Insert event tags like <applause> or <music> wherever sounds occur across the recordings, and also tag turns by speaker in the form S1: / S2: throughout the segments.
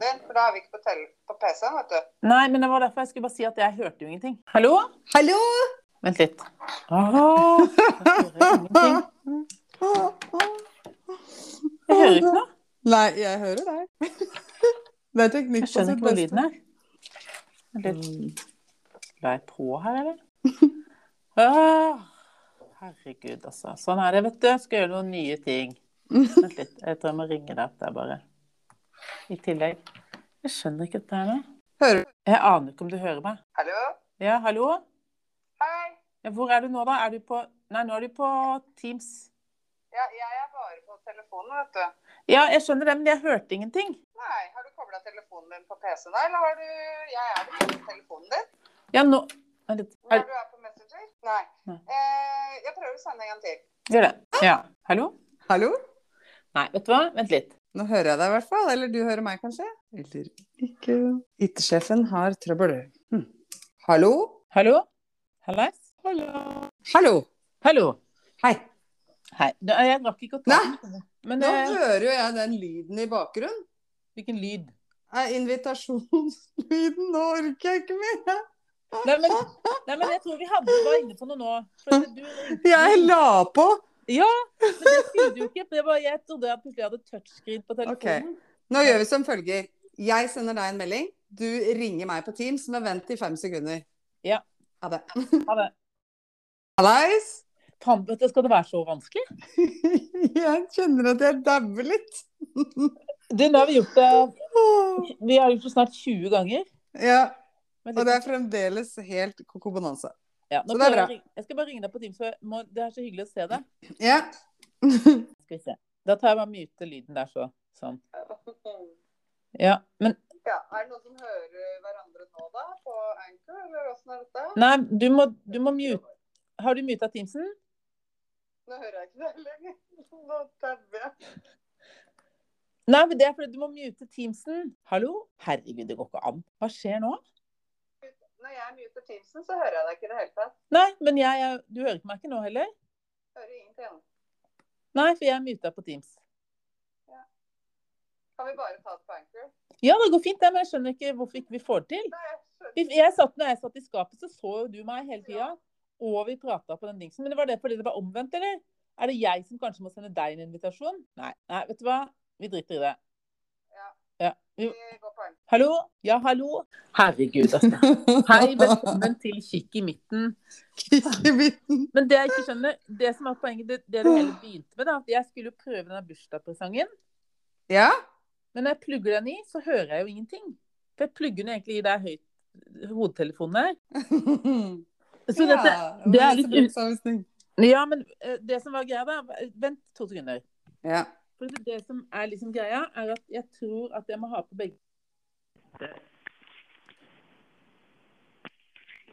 S1: det har vi ikke på, tel- på PC-en, vet du.
S2: Nei, men det var derfor jeg skulle bare si at jeg hørte jo ingenting. Hallo?
S3: Hallo!
S2: Vent litt. Åh, jeg hører ingenting. Jeg hører ikke noe.
S3: Nei, jeg hører deg. <laughs> Det er teknikk
S2: Jeg
S3: på
S2: skjønner
S3: sitt
S2: ikke hvor lyden
S3: beste.
S2: er. Vent litt. La jeg på her, eller? Åh, herregud, altså. Sånn er det, vet du. Jeg skal gjøre noen nye ting. Vent litt. Jeg tror jeg må ringe deg opp der bare. I tillegg. Jeg skjønner ikke dette her nå.
S3: Hører du?
S2: Jeg aner ikke om du hører meg.
S1: Hallo?
S2: Ja, hallo?
S1: Hei!
S2: Ja, hvor er du nå, da? Er du på Nei, nå er du på Teams.
S1: Ja, jeg er bare på telefonen, vet du.
S2: Ja, jeg skjønner det, men jeg hørte ingenting.
S1: Nei, har du kobla telefonen din på PC-en, da, eller har du Jeg er det ikke på telefonen din.
S2: Ja, nå Vent litt.
S1: Hvor
S2: Er-
S1: er du er på Messenger? Nei.
S2: Nei.
S1: Eh, jeg prøver å sende en gang til.
S2: Gjør det. Ja. Hallo?
S3: Hallo?
S2: Nei, vet du hva? Vent litt.
S3: Nå hører jeg deg i hvert fall. Eller du hører meg, kanskje? Eller ikke. IT-sjefen har trøbbel. Hm. Hallo?
S2: Hallo? Hallais? Hallo.
S3: Hallo!
S2: Hallo.
S3: Hei.
S2: Hei. Da, jeg rakk ikke å ta den. Men
S3: Nå
S2: eh,
S3: hører jo jeg den lyden i bakgrunnen.
S2: hvilken lyd?
S3: Er invitasjonslyden? Nå orker jeg ikke mer.
S2: Nei men, nei, men jeg tror vi hadde var inne på noe nå. For at du
S3: <laughs>
S2: ringte.
S3: Jeg la på.
S2: Ja, men det skulle du jo ikke. for Det var, jeg trodde jeg plutselig hadde touchscreen på telefonen.
S3: Nå gjør vi som følger. Jeg sender deg en melding. Du ringer meg på Teams, men vent i fem sekunder.
S2: Ja.
S3: Ha det.
S2: Ha det.
S3: Hallais! <laughs>
S2: Faen, vet du, skal det være så vanskelig?
S3: Jeg kjenner at jeg dauer litt.
S2: Du, nå har vi gjort det Vi har gjort det snart 20 ganger.
S3: Ja,
S2: Men
S3: og det er fremdeles helt koko bonanza.
S2: Ja, nå
S3: Så det er
S2: prøver jeg å
S3: bra.
S2: ringe- Jeg skal bare ringe deg på Teams, for jeg må, det er så hyggelig å se deg.
S3: Ja.
S2: Skal vi se. Da tar jeg bare mute lyden der, så. Sånn. Ja, men
S1: Ja, er det noen som hører hverandre nå, da? På Anchor, eller åssen er dette?
S2: Nei, du må, du må mute Har du muta Teamsen?
S1: Nå hører jeg ikke deg lenger. Nå dauer jeg.
S2: Nei, men det er fordi du må mute Teamsen. Hallo? Herregud, det går ikke an. Hva skjer nå?
S1: Når jeg muter Teamsen, så hører jeg deg ikke i det hele tatt.
S2: Nei, men jeg, er- Du hører ikke meg ikke nå heller?
S1: Hører ingenting.
S2: Nei, for jeg er muta på Teams.
S1: Kan vi bare ta det på Anchor?
S2: Ja, det går fint, det, men jeg skjønner ikke hvorfor ikke vi får det til.
S1: Nei, jeg skjønner.
S2: Vi- Jeg satt, når jeg satt i skapet, så så jo du meg hele tida. Og vi prata på den dingsen. Men det var det fordi det var omvendt, eller? Er det jeg som kanskje må sende deg en invitasjon? Nei, nei vet du hva? Vi driter i det.
S1: Ja.
S2: Ja. Vi-
S1: Vi går på Anchor.
S2: Hallo? Ja, hallo? Herregud, altså. Hei, velkommen til Kikk i midten.
S3: Kikkebiten.
S2: Men det jeg ikke skjønner, det som er poenget, det, det du hele begynte med, da, at jeg skulle jo prøve denne bursdagspresangen.
S3: <laughs> Ja.
S2: Men når jeg plugger den i, så hører jeg jo ingenting. For jeg plugger den egentlig i der høyt hodetelefonen her. Så dette, det er litt ut-
S3: utsavisning.
S2: Ja, men eh, det som var greia, da Vent to sekunder.
S3: Ja.
S2: For det- det som er liksom greia, er at jeg tror at jeg må ha på begge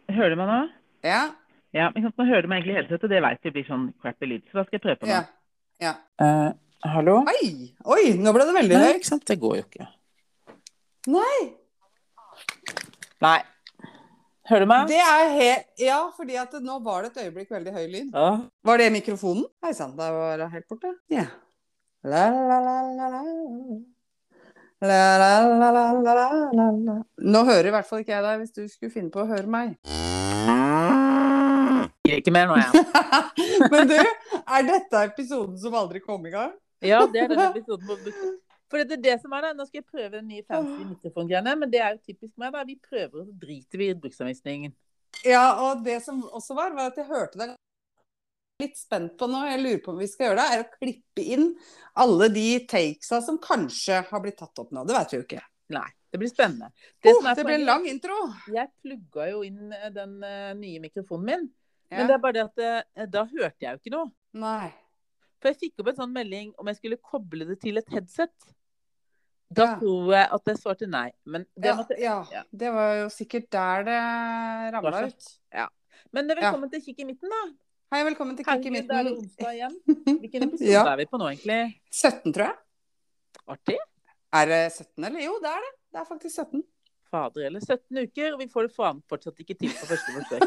S2: Hører du meg nå?
S3: Ja.
S2: Ja, men nå hører du meg egentlig i headsetet. Det vet jeg blir sånn crappy lyd, så da skal jeg prøve
S3: ja.
S2: hallo?
S3: Oi! Oi, nå ble det veldig
S2: Nei,
S3: høyt.
S2: ikke sant. Det går jo ikke.
S3: Nei!
S2: Nei. Hører du meg?
S3: Det er helt Ja, fordi at nå var det et øyeblikk veldig høy lyd.
S2: Åh.
S3: Var det mikrofonen? Hei sann, da var det helt borte. Ja. La, la, la, la, la. La, la, la, la, la, la, la, la. Nå hører i hvert fall ikke jeg deg, hvis du skulle finne på å høre meg. <laughs>
S2: Gir ikke mer nå, jeg.
S3: Men du, er dette episoden som aldri kom i gang?
S2: <laughs> Ja, det er den episoden på For det er det som er da, Nå skal jeg prøve den nye fancy mikrofongreiene, men det er jo typisk meg. da, Vi prøver, og så driter vi i bruksanvisningen.
S3: Ja, og det som også var, var at jeg hørte deg litt spent på nå, jeg lurer på om vi skal gjøre det, er å klippe inn alle de takesa som kanskje har blitt tatt opp nå. Det vet vi jo ikke.
S2: Nei, det blir spennende.
S3: Det,
S2: som er
S3: det ble
S2: poenget-
S3: en lang intro.
S2: Jeg plugga jo inn eh, den eh, nye mikrofonen min,
S3: Ja.
S2: men det er bare det at eh, da hørte jeg jo ikke noe.
S3: Nei.
S2: For jeg fikk opp en sånn melding om jeg skulle koble det til et headset. Da
S3: Ja.
S2: tror jeg at jeg svarte nei. Men, det
S3: Ja,
S2: måtte...
S3: ja,
S2: ja.
S3: det var jo sikkert der det ramla
S2: Var det? sånn?
S3: ut.
S2: men velkommen til Kikk i midten, da.
S3: Hei, velkommen til Kikk i
S2: Herregud, da er det
S3: midten.
S2: onsdag
S3: <laughs>
S2: igjen. Hvilken episode
S3: Ja.
S2: er vi på nå, egentlig?
S3: 17, tror jeg.
S2: Artig?
S3: Er det 17, eller? Jo, det er det. Det er faktisk 17.
S2: Fader eller 17 uker, og vi får det faen fortsatt ikke til på første
S3: <laughs>
S2: forsøk.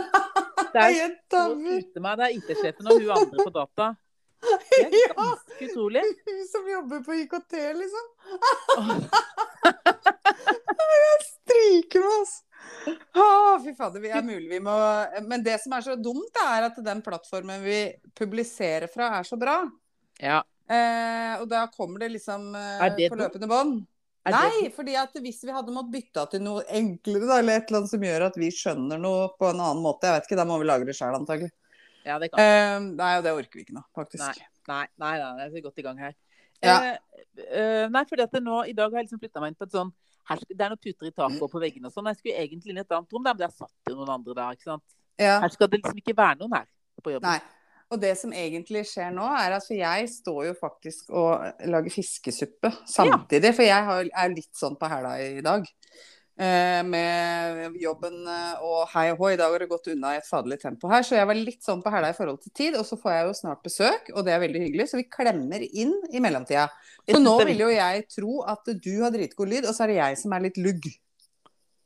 S2: Det er
S3: Hei, jeg
S2: så
S3: damer! <laughs>
S2: ute meg, det er IT-sjefen og hun andre på data. Det er
S3: <laughs> Ja,
S2: ganske utrolig.
S3: <laughs> hun som jobber på IKT, liksom.
S2: <laughs>
S3: fader, vi er mulig vi må Men det som er så dumt, er at den plattformen vi publiserer fra, er så bra.
S2: Ja.
S3: Eh, og da kommer det liksom eh,
S2: Er det
S3: på
S2: dumt?
S3: løpende bånd.
S2: Er det-
S3: Nei, fordi at hvis vi hadde måttet bytte til noe enklere, da, eller et eller annet som gjør at vi skjønner noe på en annen måte, jeg vet ikke, da må vi lage det sjøl antagelig.
S2: Ja, det kan
S3: Eh, nei, og det orker vi ikke nå, faktisk.
S2: Nei, nei, nei, nei, vi er godt i gang her.
S3: Ja.
S2: Eh, eh, nei, fordi at det nå, I dag har jeg liksom flytta meg inn på et sånn her, skal- Det er noen puter i taket og på veggene og sånn. Jeg skulle egentlig inn i et annet rom, der, men der satt det noen andre der. ikke sant?
S3: Ja.
S2: Her skal det liksom ikke være noen her på jobben.
S3: Nei. Og det som egentlig skjer nå, er at for jeg står jo faktisk og lager fiskesuppe samtidig. For jeg har, er litt sånn på hæla i dag. Eh, med jobben eh, og hei og hå, i dag har det gått unna i et faderlig tempo her. Så jeg var litt sånn på hæla i forhold til tid. Og så får jeg jo snart besøk, og det er veldig hyggelig. Så vi klemmer inn i mellomtida.
S2: Jeg
S3: Så
S2: synes
S3: nå
S2: det er
S3: vil jo jeg tro at du har dritgod lyd, og så er det jeg som er litt lugg.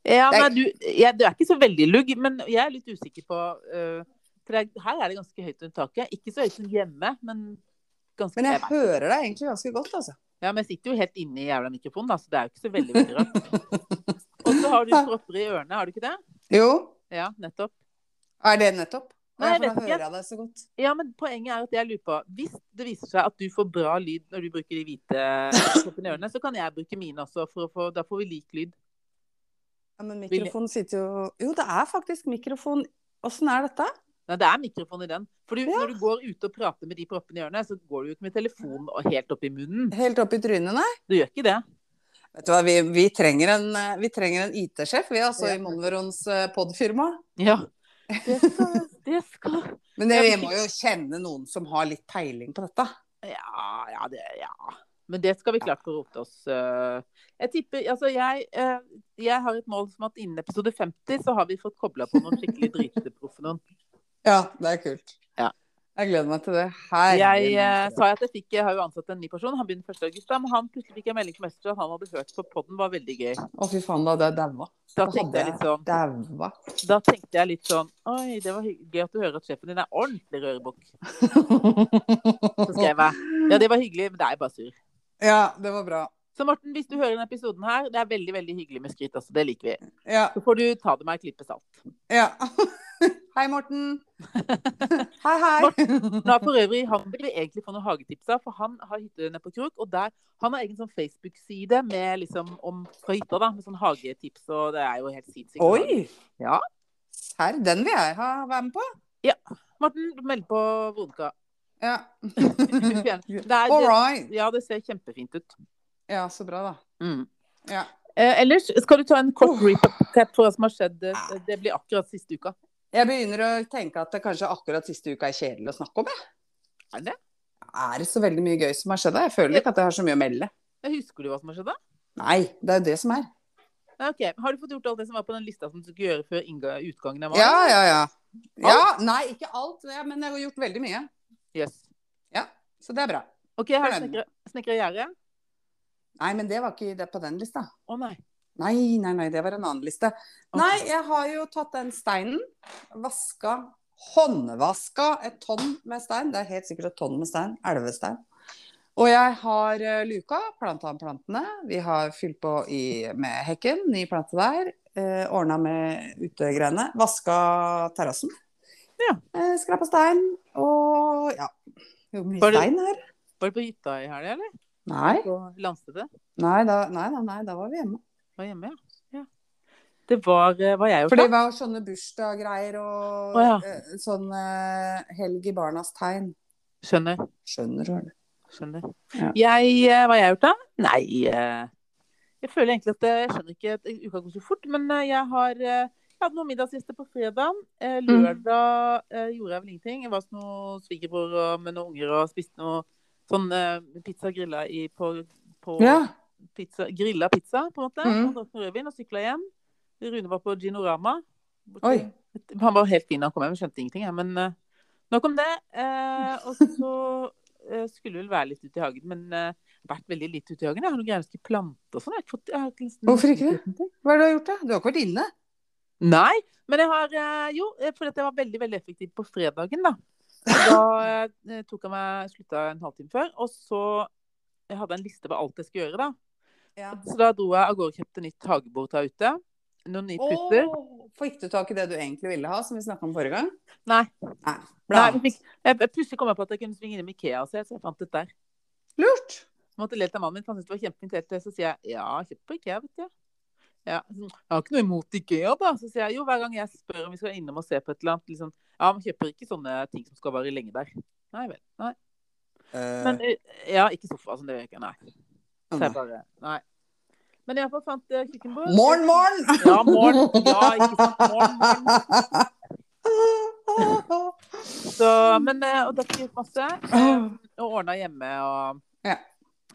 S2: Ja,
S3: Det er-
S2: nei, du, jeg, du er ikke så veldig lugg, men jeg er litt usikker på eh, for jeg, Her er det ganske høyt under taket. Ikke så høyt som hjemme, men ganske
S3: Men jeg
S2: vet ikke.
S3: hører deg egentlig ganske godt, altså.
S2: Ja, men jeg sitter jo helt inne i jævla mikrofonen, da, så det er jo ikke så veldig veldig rart.
S3: <laughs>
S2: Og så har du propper i ørene, har du ikke det?
S3: Jo.
S2: Ja, nettopp.
S3: Er det nettopp?
S2: Nei,
S3: Ja,
S2: jeg
S3: for da
S2: vet ikke.
S3: hører jeg deg så godt.
S2: Ja, men poenget er at jeg lurer på Hvis det viser seg at du får bra lyd når du bruker de hvite proppene i ørene, så kan jeg bruke mine også, for å få, da får vi lik lyd.
S3: Ja, men
S2: Vil-
S3: mikrofon sitter jo Jo, det er faktisk mikrofon. Åssen er dette?
S2: Nei, det er mikrofon i den. For du-
S3: Ja.
S2: når du går ute og prater med de proppene i ørene, så går du jo ikke med telefonen og helt opp i munnen.
S3: Helt opp i trynet, nei?
S2: Du gjør ikke det.
S3: Vet du hva, vi, vi trenger en, eh, vi trenger en IT-sjef, vi, altså,
S2: Ja.
S3: i Monverons eh, podfirma.
S2: Ja. Det skal, det skal.
S3: Men det,
S2: Ja,
S3: vi
S2: men-
S3: må jo kjenne noen som har litt peiling på dette.
S2: Ja, ja, det, ja. Men det skal vi klart få rote oss. øh. Jeg tipper, altså jeg, øh, jeg har et mål som at innen episode 50 så har vi fått kobla på noen skikkelig driteproffe noen.
S3: Ja, det er kult.
S2: Ja.
S3: Jeg gleder meg til det.
S2: Jeg øh,
S3: Herregud. altså.
S2: sa at jeg fikk, jeg har jo ansatt en ny person, han begynner 1. august, da, men han plutselig fikk jeg melding fra Mester at han hadde hørt på podden, var veldig gøy.
S3: Å, fy faen, da hadde jeg daua.
S2: Da
S3: eh, Da
S2: tenkte
S3: hadde
S2: jeg litt sånn,
S3: Daua.
S2: da tenkte jeg litt sånn Oi, det var hygg- gøy at du hører at sjefen din er ordentlig rørebukk. Så skrev jeg ja, det var hyggelig, men det er jo bare sur.
S3: Ja, det var bra.
S2: Så Morten, hvis du hører denne episoden her, det er veldig veldig hyggelig med skryt også. Det liker vi.
S3: Ja.
S2: Så får du ta det med et klype salt.
S3: ja. <laughs> Hei, <laughs> Morten. Hei, hei.
S2: Nå er for øvrig, Han vil vi egentlig få noen hagetips av, for han har hytte nede på Krok. Og der, han har egen sånn Facebook-side med liksom om fra hytta, da, med sånn hagetips. Og det er jo helt sinnssykt.
S3: Oi!
S2: Ja.
S3: Serr, den vil jeg ha være med på.
S2: Morten, du melder på Vonka.
S3: Ja.
S2: <laughs>
S3: <laughs>
S2: Det er,
S3: All
S2: det,
S3: right.
S2: ja, det ser kjempefint ut.
S3: Ja, så bra, da.
S2: Mm.
S3: Ja. Oh.
S2: Eh, ellers skal du ta en kort recap for hva som har skjedd.
S3: Ah.
S2: eh, Det blir akkurat siste uka.
S3: Jeg begynner å tenke at det kanskje akkurat siste uka er kjedelig å snakke om. Jeg.
S2: Er det?
S3: Er det så veldig mye gøy som har skjedd? da? Jeg føler ikke at jeg har så mye å melde.
S2: Husker du hva som har skjedd, da?
S3: Nei, det er jo det som er.
S2: Nei, ok. Har du fått gjort alt det som var på den lista som du skulle gjøre før innga- utgangen av mai?
S3: Ja, ja, ja. ja nei, ikke alt, ja, men jeg har gjort veldig mye.
S2: Yes.
S3: Så det er bra.
S2: Ok, har du
S3: Fornøyd.
S2: snekra- snekra gjerdet?
S3: Nei, men det var ikke det på den lista.
S2: Å nei.
S3: Nei, nei, nei, det var en annen liste.
S2: Ok.
S3: Nei, jeg har jo tatt den steinen, vaska, håndvaska et tonn med stein. Det er helt sikkert et tonn med stein, elvestein. Og jeg har eh, luka, planta om plantene. Vi har fylt på i, med hekken, ny plante der. Eh, Ordna med utegreiene. Vaska terrassen.
S2: Ja.
S3: Eh, Skrapa stein. Og ja. Jo, mye
S2: Var det-
S3: stein her.
S2: Var du på hytta i helga, eller?
S3: Nei.
S2: På Landstedet?
S3: Nei, da, nei, nei, nei, da var vi hjemme.
S2: Var hjemme, ja. ja. Det var eh, Var jeg
S3: For det
S2: også?
S3: var sånne bursdaggreier og
S2: Å, ja.
S3: eh, sånn eh, helg i barnas tegn.
S2: Skjønner.
S3: Skjønner du? eller?
S2: Skjønner.
S3: Ja.
S2: Jeg, eh, hva har jeg gjort da? Nei eh, Jeg føler egentlig at eh, jeg skjønner ikke at uka går så fort, men eh, jeg har eh, jeg hadde noen middagsgjester på fredag. Eh,
S3: Mm.
S2: Lørdag eh, gjorde jeg vel ingenting. Jeg var hos noen svigerbror og- med noen unger og spiste noe sånn eh, pizza grilla i, på, på
S3: Ja.
S2: pizza, grilla pizza, på en måte.
S3: Mm.
S2: Og drakk noe rødvin og sykla hjem. Rune var på Ginorama. borte-
S3: Oi.
S2: Han var helt fin da han kom hjem, jeg skjønte ingenting, jeg. Men eh, nok om det. Eh, og så eh, skulle vel være litt ute i hagen, men eh, vært veldig lite ute i hagen. Jeg har noen greier jeg skulle plante og sånn. Jeg har ikke fått, jeg har ikke nesten-
S3: Hvorfor ikke det? Hva er det du har gjort, da? Du har ikke vært inne?
S2: Nei, men jeg har eh, Jo, eh, fordi at jeg var veldig veldig effektiv på fredagen, da. Så Da eh, tok jeg meg slutta en halvtime før. Og så jeg hadde jeg en liste på alt jeg skulle gjøre, da.
S3: Ja.
S2: Så da dro jeg av gårde og kjøpte nytt hagebord til ute. noen nye puter.
S3: Åh, Fikk du tak i det du egentlig ville ha, som vi snakka om forrige gang?
S2: Nei.
S3: Nei.
S2: Nei
S3: Bra.
S2: jeg fikk- jeg, jeg plutselig kom jeg på at jeg kunne svinge innom Ikea og se, så jeg fant det der.
S3: Lurt.
S2: Jeg måtte le til mannen min, for han syntes det var kjempefint helt, så sier jeg ja, kjøp på Ikea, vet du. Ja, jeg har ikke noe imot Ikea, da. Så sier jeg jo, hver gang jeg spør om vi skal innom og se på et eller annet, liksom, ja, man kjøper ikke sånne ting som skal vare lenge der. Nei vel. Nei.
S3: Eh,
S2: Men eh, ja, ikke sofa, som det gjør ikke, nei. Så
S3: Anna.
S2: jeg bare, nei. Men jeg fant eh, kjøkkenbord.
S3: morgen,
S2: <laughs>
S3: morgen!
S2: Ja, morgen. Ja, ikke sant. Morgen, morgen. Så, men, eh, og dette gjort masse.
S3: <clears throat>
S2: eh, Og ordna hjemme og
S3: Ja.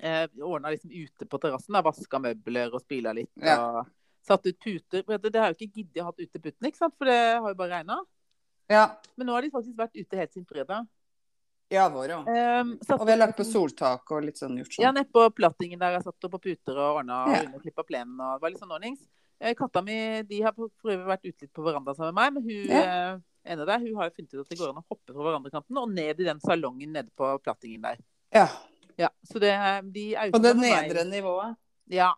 S2: eh, Ordna liksom ute på terrassen. Vaska møbler og spila litt.
S3: Ja.
S2: Og satt ut puter. For det, det har jo ikke giddet å ha ute putene, ikke sant? for det har jo bare regna.
S3: ja.
S2: Men nå har de faktisk vært ute helt siden fredag.
S3: Ja, vår òg.
S2: Um, satt
S3: Og vi har
S2: ut-
S3: lagt på soltak og litt sånn gjort
S2: Ja,
S3: sånn.
S2: nedpå plattingen der jeg satt opp på puter og ordna
S3: Ja.
S2: og klippa plenen. og det var litt sånn ordnings. Eh, Katta mi de har på- for øvrig vært ute litt på verandaen sammen med meg, men hun eh, ene der, hun har jo funnet ut at det går an å hoppe fra verandakanten og ned i den salongen nede på plattingen der.
S3: Ja.
S2: Ja, så det, de er ute
S3: På det
S2: hos meg.
S3: nedre nivået.
S2: Ja.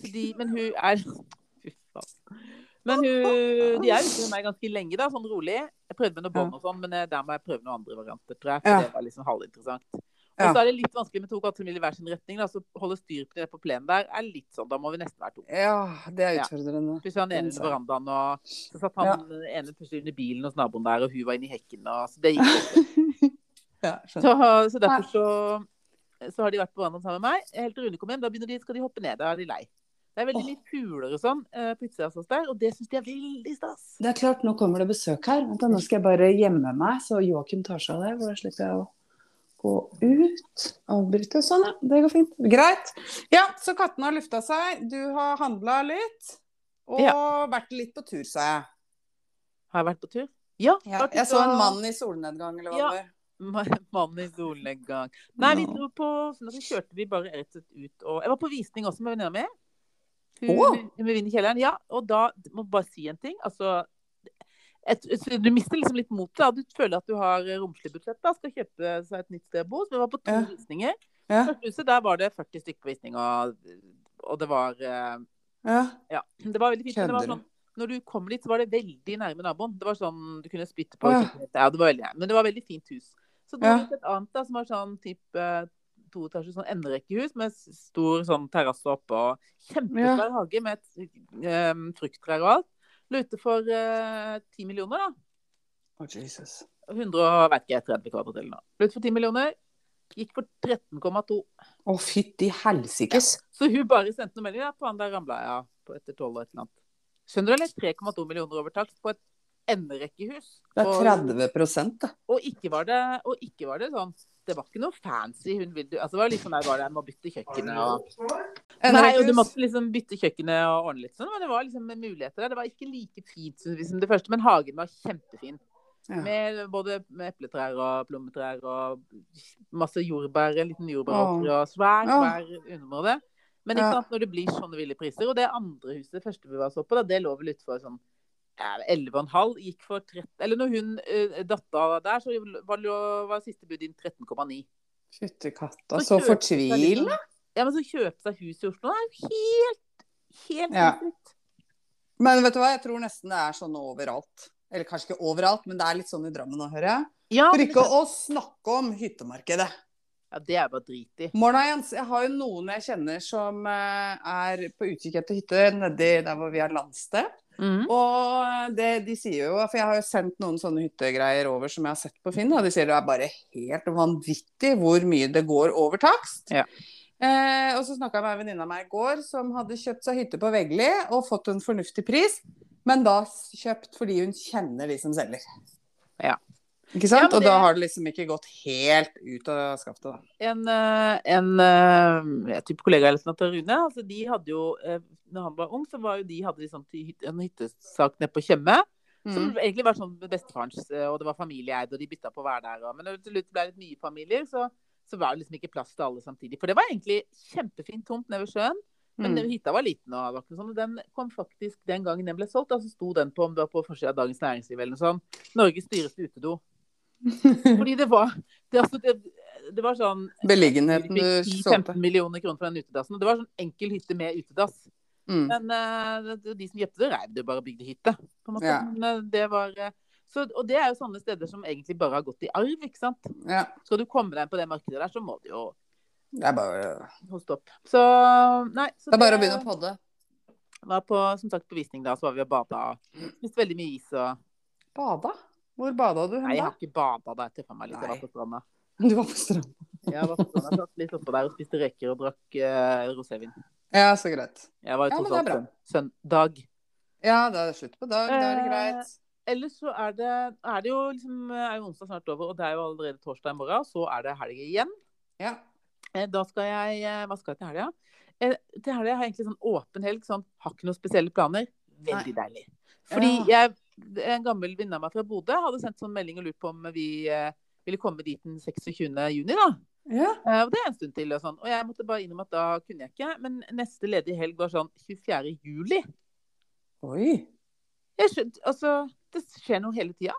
S2: Så de, men hun er <laughs> Fy faen. Men hun, de er ute med meg ganske lenge, da, sånn rolig. Jeg prøvde med noe bånd og sånn, men eh, der må jeg prøve noen andre varianter, tror jeg. For
S3: Ja.
S2: det var liksom halvinteressant. Og
S3: Ja.
S2: så er det litt vanskelig med to katter som vil i hver sin retning. Da, så holde styr på det på plenen der er litt sånn, da må vi nesten være to.
S3: Ja, det er
S2: Ja.
S3: utfordrende.
S2: Plutselig var han ene under verandaen, og så satt han
S3: Ja.
S2: den ene plutselig under bilen hos naboen der, og hun var inni hekken, og så det gikk ikke.
S3: Ja, skjønner.
S2: Så, så derfor så, så har de vært på verandaen sammen med meg. Helt til Rune kom hjem, da begynner de, skal de hoppe ned. Da er de lei. Det er veldig
S3: Åh.
S2: mye fugler og sånn eh, på utsida hos oss der, og det syns de er veldig stas.
S3: Det er klart, nå kommer det besøk her. Vent da, nå skal jeg bare gjemme meg, så Joakim tar seg av det. For da slipper jeg å gå ut. Avbryte. Sånn, ja. Det går fint. Greit. Ja, så kattene har lufta seg. Du har handla litt. Og vært litt på tur, sa jeg.
S2: Har jeg vært på tur? Ja.
S3: Ja,
S2: vært ute
S3: jeg så en
S2: og-
S3: mann i solnedgang, eller hva
S2: Ja.
S3: det var.
S2: <laughs> Ma- Mann i solnedgang. Nei, vi
S3: Ja.
S2: dro på sånn at vi kjørte vi bare rett og slett ut og Jeg var på visning også med venninna mi. Hun
S3: Åh.
S2: hun med vin i kjelleren. Ja, og da må jeg bare si en ting. Altså et, et, du mister liksom litt motet. da. Du føler at du har eh, romslig budsjett. da, Skal kjøpe seg et nytt sted å bo. Så vi var på to
S3: Ja.
S2: visninger.
S3: Ja.
S2: Første huset, der var det 40 stykker på visning, og, og det var eh,
S3: Ja.
S2: Ja, det var veldig fint. men Det var
S3: Kødder du?
S2: sånn, når du kom dit, så var det veldig nærme naboen. Det var sånn du kunne spytte på.
S3: Å, ja.
S2: kjøkkenet. Ja, det var veldig nærme. Men det var veldig fint hus. Så det
S3: Ja.
S2: var et annet da, som var sånn type toetasjes sånn enderekkehus med s- stor sånn terrasse oppe og kjempesvær hage med et um, frukttrær og alt. Lå ute for eh, 10 millioner, da.
S3: Å, Jesus.
S2: 100 og vet ikke, 30 kvadrat eller noe. Lå ute for 10 millioner. Gikk for 13,2.
S3: Å, fytti helsikes.
S2: Så hun bare sendte noen meldinger. Ja, faen, der ramla jeg av på etter tolv og et eller annet. Skjønner du, eller? 3,2 millioner over takst på et enderekkehus.
S3: Det er
S2: Og,
S3: 30 da.
S2: og, ikke var det, og ikke var det sånn Det var ikke noe fancy. Hun ville, altså, det var litt sånn der bare Jeg må bytte kjøkkenet og Nei, og du måtte liksom bytte kjøkkenet og ordne litt sånn. Men det var liksom muligheter der. Det var ikke like fint synes vi, som det første, men hagen var kjempefin.
S3: Ja.
S2: Med både med epletrær og plommetrær og masse jordbær, en liten jordbæråker og svær,
S3: Åh.
S2: svær underområde. Men ikke
S3: Ja.
S2: sant, når det blir sånne ville priser Og det andre huset, det første vi var så på, da, det lå vel utfor sånn ja, 11,5 gikk for 13 Eller når hun eh, datta der, så var, lå- var siste bud inn 13,9.
S3: Fytti katta, så
S2: kjøpte seg
S3: fortvilende.
S2: liksom- Ja, men så kjøpe seg hus i Oslo det er jo helt, helt
S3: Ja.
S2: sinnssykt.
S3: Men vet du hva, jeg tror nesten det er sånn overalt. Eller kanskje ikke overalt, men det er litt sånn i Drammen nå, hører jeg.
S2: Ja,
S3: For
S2: men-
S3: ikke å snakke om hyttemarkedet.
S2: ja, det er bare drit i.
S3: Morna, Jens. Jeg har jo noen jeg kjenner som eh, er på utkikk etter hytte nedi der hvor vi har landsted. Mm. Og det de sier jo, for jeg har jo sendt noen sånne hyttegreier over som jeg har sett på Finn, og de sier det er bare helt vanvittig hvor mye det går over takst.
S2: Ja.
S3: Eh, og så snakka jeg med ei venninne av meg i går som hadde kjøpt seg hytte på Veggli og fått en fornuftig pris, men da s- kjøpt fordi hun kjenner de som selger.
S2: Ja.
S3: Ikke
S2: Ja,
S3: sant?
S2: men
S3: Og da
S2: det-
S3: har det liksom ikke gått helt ut av skaftet, da.
S2: En, eh, en eh, jeg type kollega eller sånn til Rune, altså de hadde jo eh, Når han var ung, så var jo de hadde de sånn til hytte, en hyttesak nede på Tjøme. Som
S3: Mm.
S2: egentlig var sånn med bestefarens, eh, og det var familieeid, og de bytta på å være der. Og, men når det til slutt ble litt mye familier, så, så var det liksom ikke plass til alle samtidig. For det var egentlig kjempefint tomt nede ved sjøen, men
S3: Mm.
S2: hytta var liten. og det var ikke sånn. Og Den kom faktisk, den gangen den ble solgt, da, så sto den på om det var på forsida av Dagens Næringsliv eller noe sånt. Norges dyreste utedo.
S3: <laughs>
S2: Fordi det var det, altså, det, det var sånn
S3: Beliggenheten du
S2: vi fikk
S3: solgte.
S2: 10-15 millioner kroner for den utedassen. Og det var sånn enkel hytte med utedass.
S3: Mm.
S2: Men eh, det- det- de som gjepte det, reiv det jo bare og bygde hytte. På en måte.
S3: Ja.
S2: Men eh, det var eh, så, Og det er jo sånne steder som egentlig bare har gått i arv, ikke sant.
S3: Ja.
S2: Skal du komme deg inn på det markedet der, så må du jo
S3: Det er bare,
S2: hoste opp. Så nei. Så
S3: det er bare å begynne å podde.
S2: Var på, som sagt, på visning da, så var vi og bada. Spiste veldig mye is og
S3: Bada? Hvor bada du hen,
S2: Nei, jeg
S3: da?
S2: har ikke bada da jeg tøffa meg litt. Jeg
S3: Nei.
S2: var på stranda.
S3: <laughs> Du var på stranda.
S2: Jeg var på stranda, satt litt oppå der og spiste røyker og drakk eh, rosévin.
S3: Ja, så greit.
S2: Jeg var jo
S3: Ja, men
S2: tross alt
S3: det er
S2: søn- søndag.
S3: Ja, da er det slutt på dag. Da er det
S2: Eh,
S3: greit.
S2: Ellers så er det, er det jo liksom er jo onsdag snart over, og det er jo allerede torsdag i morgen. og Så er det helg igjen.
S3: Ja.
S2: Eh, Da skal jeg eh, Hva skal jeg til helga? Eh, Til helga har jeg egentlig sånn åpen helg. Sånn har ikke noen spesielle planer. Veldig deilig. Fordi jeg, en gammel venninne av meg fra Bodø hadde sendt sånn melding og lurt på om vi eh, ville komme dit den 26. juni, da.
S3: Ja.
S2: Eh, Og det er en stund til. Og, sånn. og jeg måtte bare innrømme at da kunne jeg ikke. Men neste ledige helg var sånn 24. juli.
S3: Oi.
S2: Jeg skjøn- altså, det skjer noe hele tida.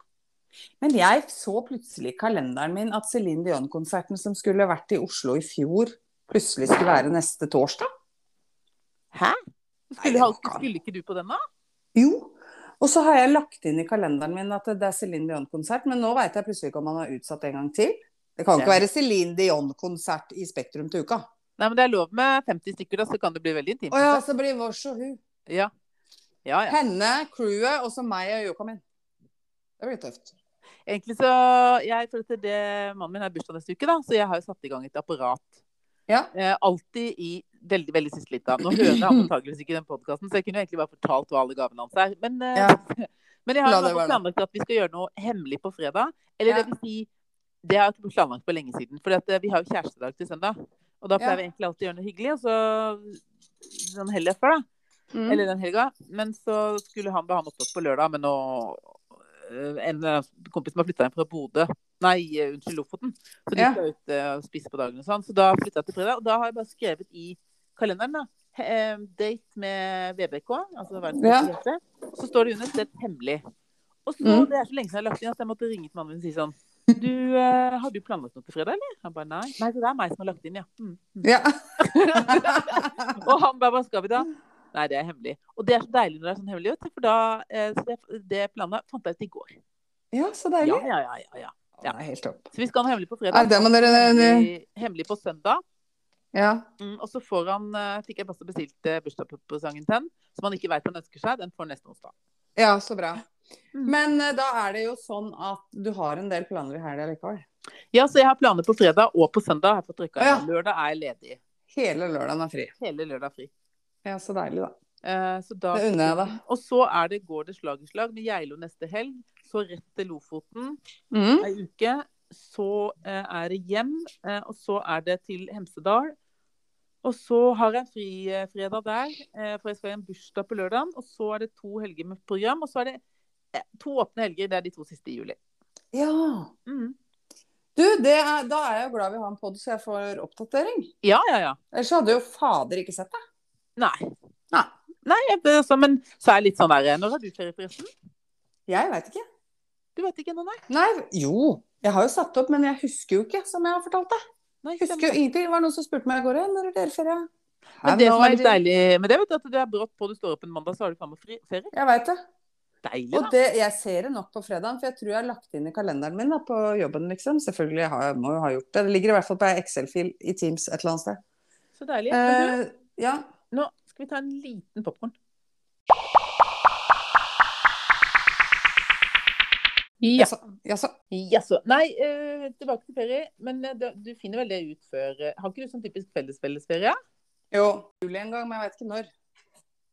S3: Men jeg så plutselig i kalenderen min at Céline Dion-konserten som skulle vært i Oslo i fjor, plutselig skulle være neste torsdag.
S2: Hæ?
S3: Nei, det
S2: Skulle, ha-
S3: kan-
S2: skulle ikke du på den, da?
S3: Jo. Og så har jeg lagt inn i kalenderen min at det er Céline Dion-konsert, men nå veit jeg plutselig ikke om han har utsatt en gang til. Det kan jo ikke
S2: Ja.
S3: være Céline Dion-konsert i Spektrum til uka.
S2: Nei, men det er lov med 50 stykker, da, så kan det bli veldig intimt.
S3: Å ja, så blir vårs og hun.
S2: Ja. Ja, ja.
S3: Henne, crewet, og så meg og Joka min. Det blir tøft.
S2: Egentlig så jeg, for at det, Mannen min har bursdag neste uke, da, så jeg har jo satt i gang et apparat.
S3: Ja.
S2: Eh, alltid i veldig veldig siste lita. Nå hører jeg antakeligvis ikke den podkasten, så jeg kunne jo egentlig bare fortalt hva alle gavene hans er. Men, eh, <laughs> men jeg har
S3: La
S2: i hvert
S3: det
S2: fall
S3: være det.
S2: planlagt at vi skal gjøre noe hemmelig på fredag. Eller
S3: Ja.
S2: det vil si, det har jeg ikke planlagt på lenge siden. For vi har jo kjærestedag til søndag. Og da pleier
S3: Ja.
S2: vi egentlig alltid å gjøre noe hyggelig. Og så den helga før, da.
S3: Mm.
S2: Eller den helga. Men så skulle han bli han opptatt på lørdag, men nå øh, En øh, kompis som har flytta inn fra Bodø Nei, øh, unnskyld, Lofoten. Så de
S3: Ja.
S2: skal ut øh, og spise på dagen og sånn. Så da flytta jeg til fredag. Og da har jeg bare skrevet i kalenderen, da. he- eh, Date med VBK, altså verdens
S3: Ja.
S2: beste helse. Og Så står det under stelt hemmelig. Og så,
S3: Mm.
S2: det er så lenge siden jeg har lagt inn at jeg måtte ringe til mannen min og si sånn Du, øh, har du planlagt noe til fredag, eller? Han bare nei. Nei, så det er meg som har lagt inn, ja. Mm.
S3: Ja.
S2: <laughs> Og han bare, hva skal vi da? Nei, det er hemmelig. Og det er så deilig når det er sånn hemmelig, vet du. For da, eh, så det, det planet fant jeg ut i går.
S3: ja, så
S2: Ja,
S3: deilig.
S2: ja, ja, ja, ja.
S3: Det er helt topp.
S2: Så vi skal ha noe hemmelig på
S3: Nei,
S2: fredag.
S3: det må dere
S2: Hemmelig, hemmelig på søndag.
S3: Ja.
S2: Mm, og så får han, eh, fikk jeg også bestilt eh, bursdagspresangen til han, som han ikke vet han ønsker seg. Den får neste onsdag.
S3: Ja, så bra.
S2: Mm.
S3: Men eh, da er det jo sånn at du har en del planer i helga likevel.
S2: Ja, så jeg har planer på fredag og på søndag. Jeg får trykka
S3: Å, ja.
S2: inn. Lørdag er jeg ledig.
S3: Hele lørdagen er fri.
S2: Hele lørdag fri.
S3: Ja, så deilig, da.
S2: Eh, så da
S3: Det unner jeg deg.
S2: Og så er det, går det slag i slag med Geilo neste helg. Så rett til Lofoten.
S3: Mm.
S2: ei uke. Så eh, er det hjem, eh, og så er det til Hemsedal. Og så har jeg en frifredag der, eh, for jeg skal i en bursdag på lørdag. Og så er det to helger med program, og så er det eh, to åpne helger. Det er de to siste i juli.
S3: Ja.
S2: Mm.
S3: Du, det er, da er jeg jo glad vi har en pod så jeg får oppdatering.
S2: Ja, ja, ja.
S3: Ellers hadde jo fader ikke sett deg.
S2: Nei.
S3: Nei.
S2: Nei, jeg, altså, men så er jeg litt sånn der eh, Når har du ferie, forresten?
S3: Jeg veit ikke.
S2: Du vet ikke ennå, nei?
S3: Nei, jo. Jeg har jo satt opp, men jeg husker jo ikke, som jeg har fortalt deg.
S2: nei
S3: Jeg Husker jo
S2: stemmer.
S3: ingenting. Det var noen som spurte meg i går, «Ja, når er dere ferie?
S2: Men det
S3: Nei,
S2: som
S3: nå
S2: er litt
S3: det-
S2: deilig med det, vet du, at det er brått på du står opp en mandag, så har du faen meg fri- ferie.
S3: Jeg veit det.
S2: Deilig,
S3: Og
S2: da.
S3: det, jeg ser det nok på fredagen, for jeg tror jeg har lagt det inn i kalenderen min da, på jobben, liksom. Selvfølgelig har jeg, må jo ha gjort det. Det ligger i hvert fall på ei Excel-fil i Teams et eller annet sted.
S2: Så deilig. Men du,
S3: Eh, ja.
S2: nå skal vi ta en liten popkorn. Ja.
S3: Jaså. Jaså.
S2: Jaså. Nei, eh, tilbake til ferie. Men eh, da- du finner vel det ut før eh, Har ikke du sånn typisk felles-fellesferie?
S3: Jo, juli en gang, men jeg veit ikke når.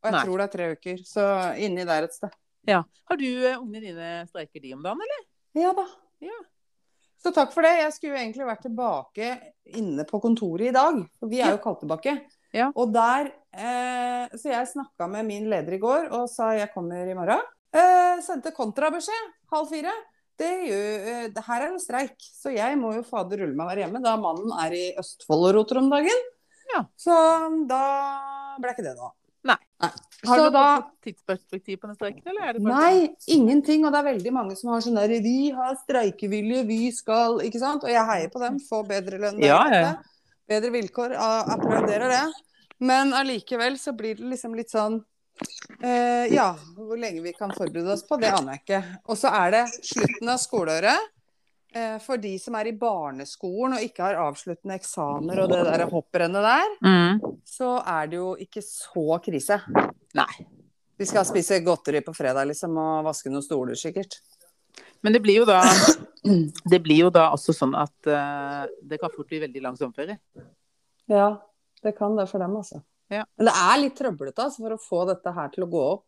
S3: Og jeg
S2: Nei.
S3: tror det er tre uker, så inni der et sted.
S2: Ja. Har du eh, ungene dine streiker de om dagen, eller?
S3: Ja da.
S2: Ja.
S3: Så takk for det. Jeg skulle jo egentlig vært tilbake inne på kontoret i dag, for vi er jo kalt tilbake.
S2: Ja.
S3: Og der eh, Så jeg snakka med min leder i går og sa jeg kommer i morgen. Eh, sendte kontrabeskjed halv fire. Det gjør, eh, det her er det streik, så jeg må jo fader rulle meg være hjemme, da mannen er i Østfold og roter om dagen.
S2: Ja.
S3: Så da ble ikke det noe.
S2: Nei. Har
S3: Så
S2: du
S3: da
S2: fått tidsperspektiv på den streiken, eller er det bare
S3: Nei, ingenting. Og det er veldig mange som har sånn der Vi har streikevilje, vi skal Ikke sant? Og jeg heier på dem. Få bedre lønn.
S2: Ja, ja, ja.
S3: Bedre vilkår. a- Applauderer det. Men allikevel så blir det liksom litt sånn eh, Ja, hvor lenge vi kan forberede oss på, det aner jeg ikke. Og så er det slutten av skoleåret. eh, For de som er i barneskolen og ikke har avsluttende eksamener og det der hopprennet
S2: sånn?
S3: der, så er det jo ikke så krise.
S2: Nei.
S3: De skal spise godteri på fredag, liksom, og vaske noen stoler, sikkert.
S2: Men det blir jo
S3: <clears throat>
S2: da Det blir jo da også sånn at eh, det kan fort bli veldig lang sommerferie.
S3: Ja, det kan det for dem, altså.
S2: Ja.
S3: Men det er litt trøblete altså, for å få dette her til å gå opp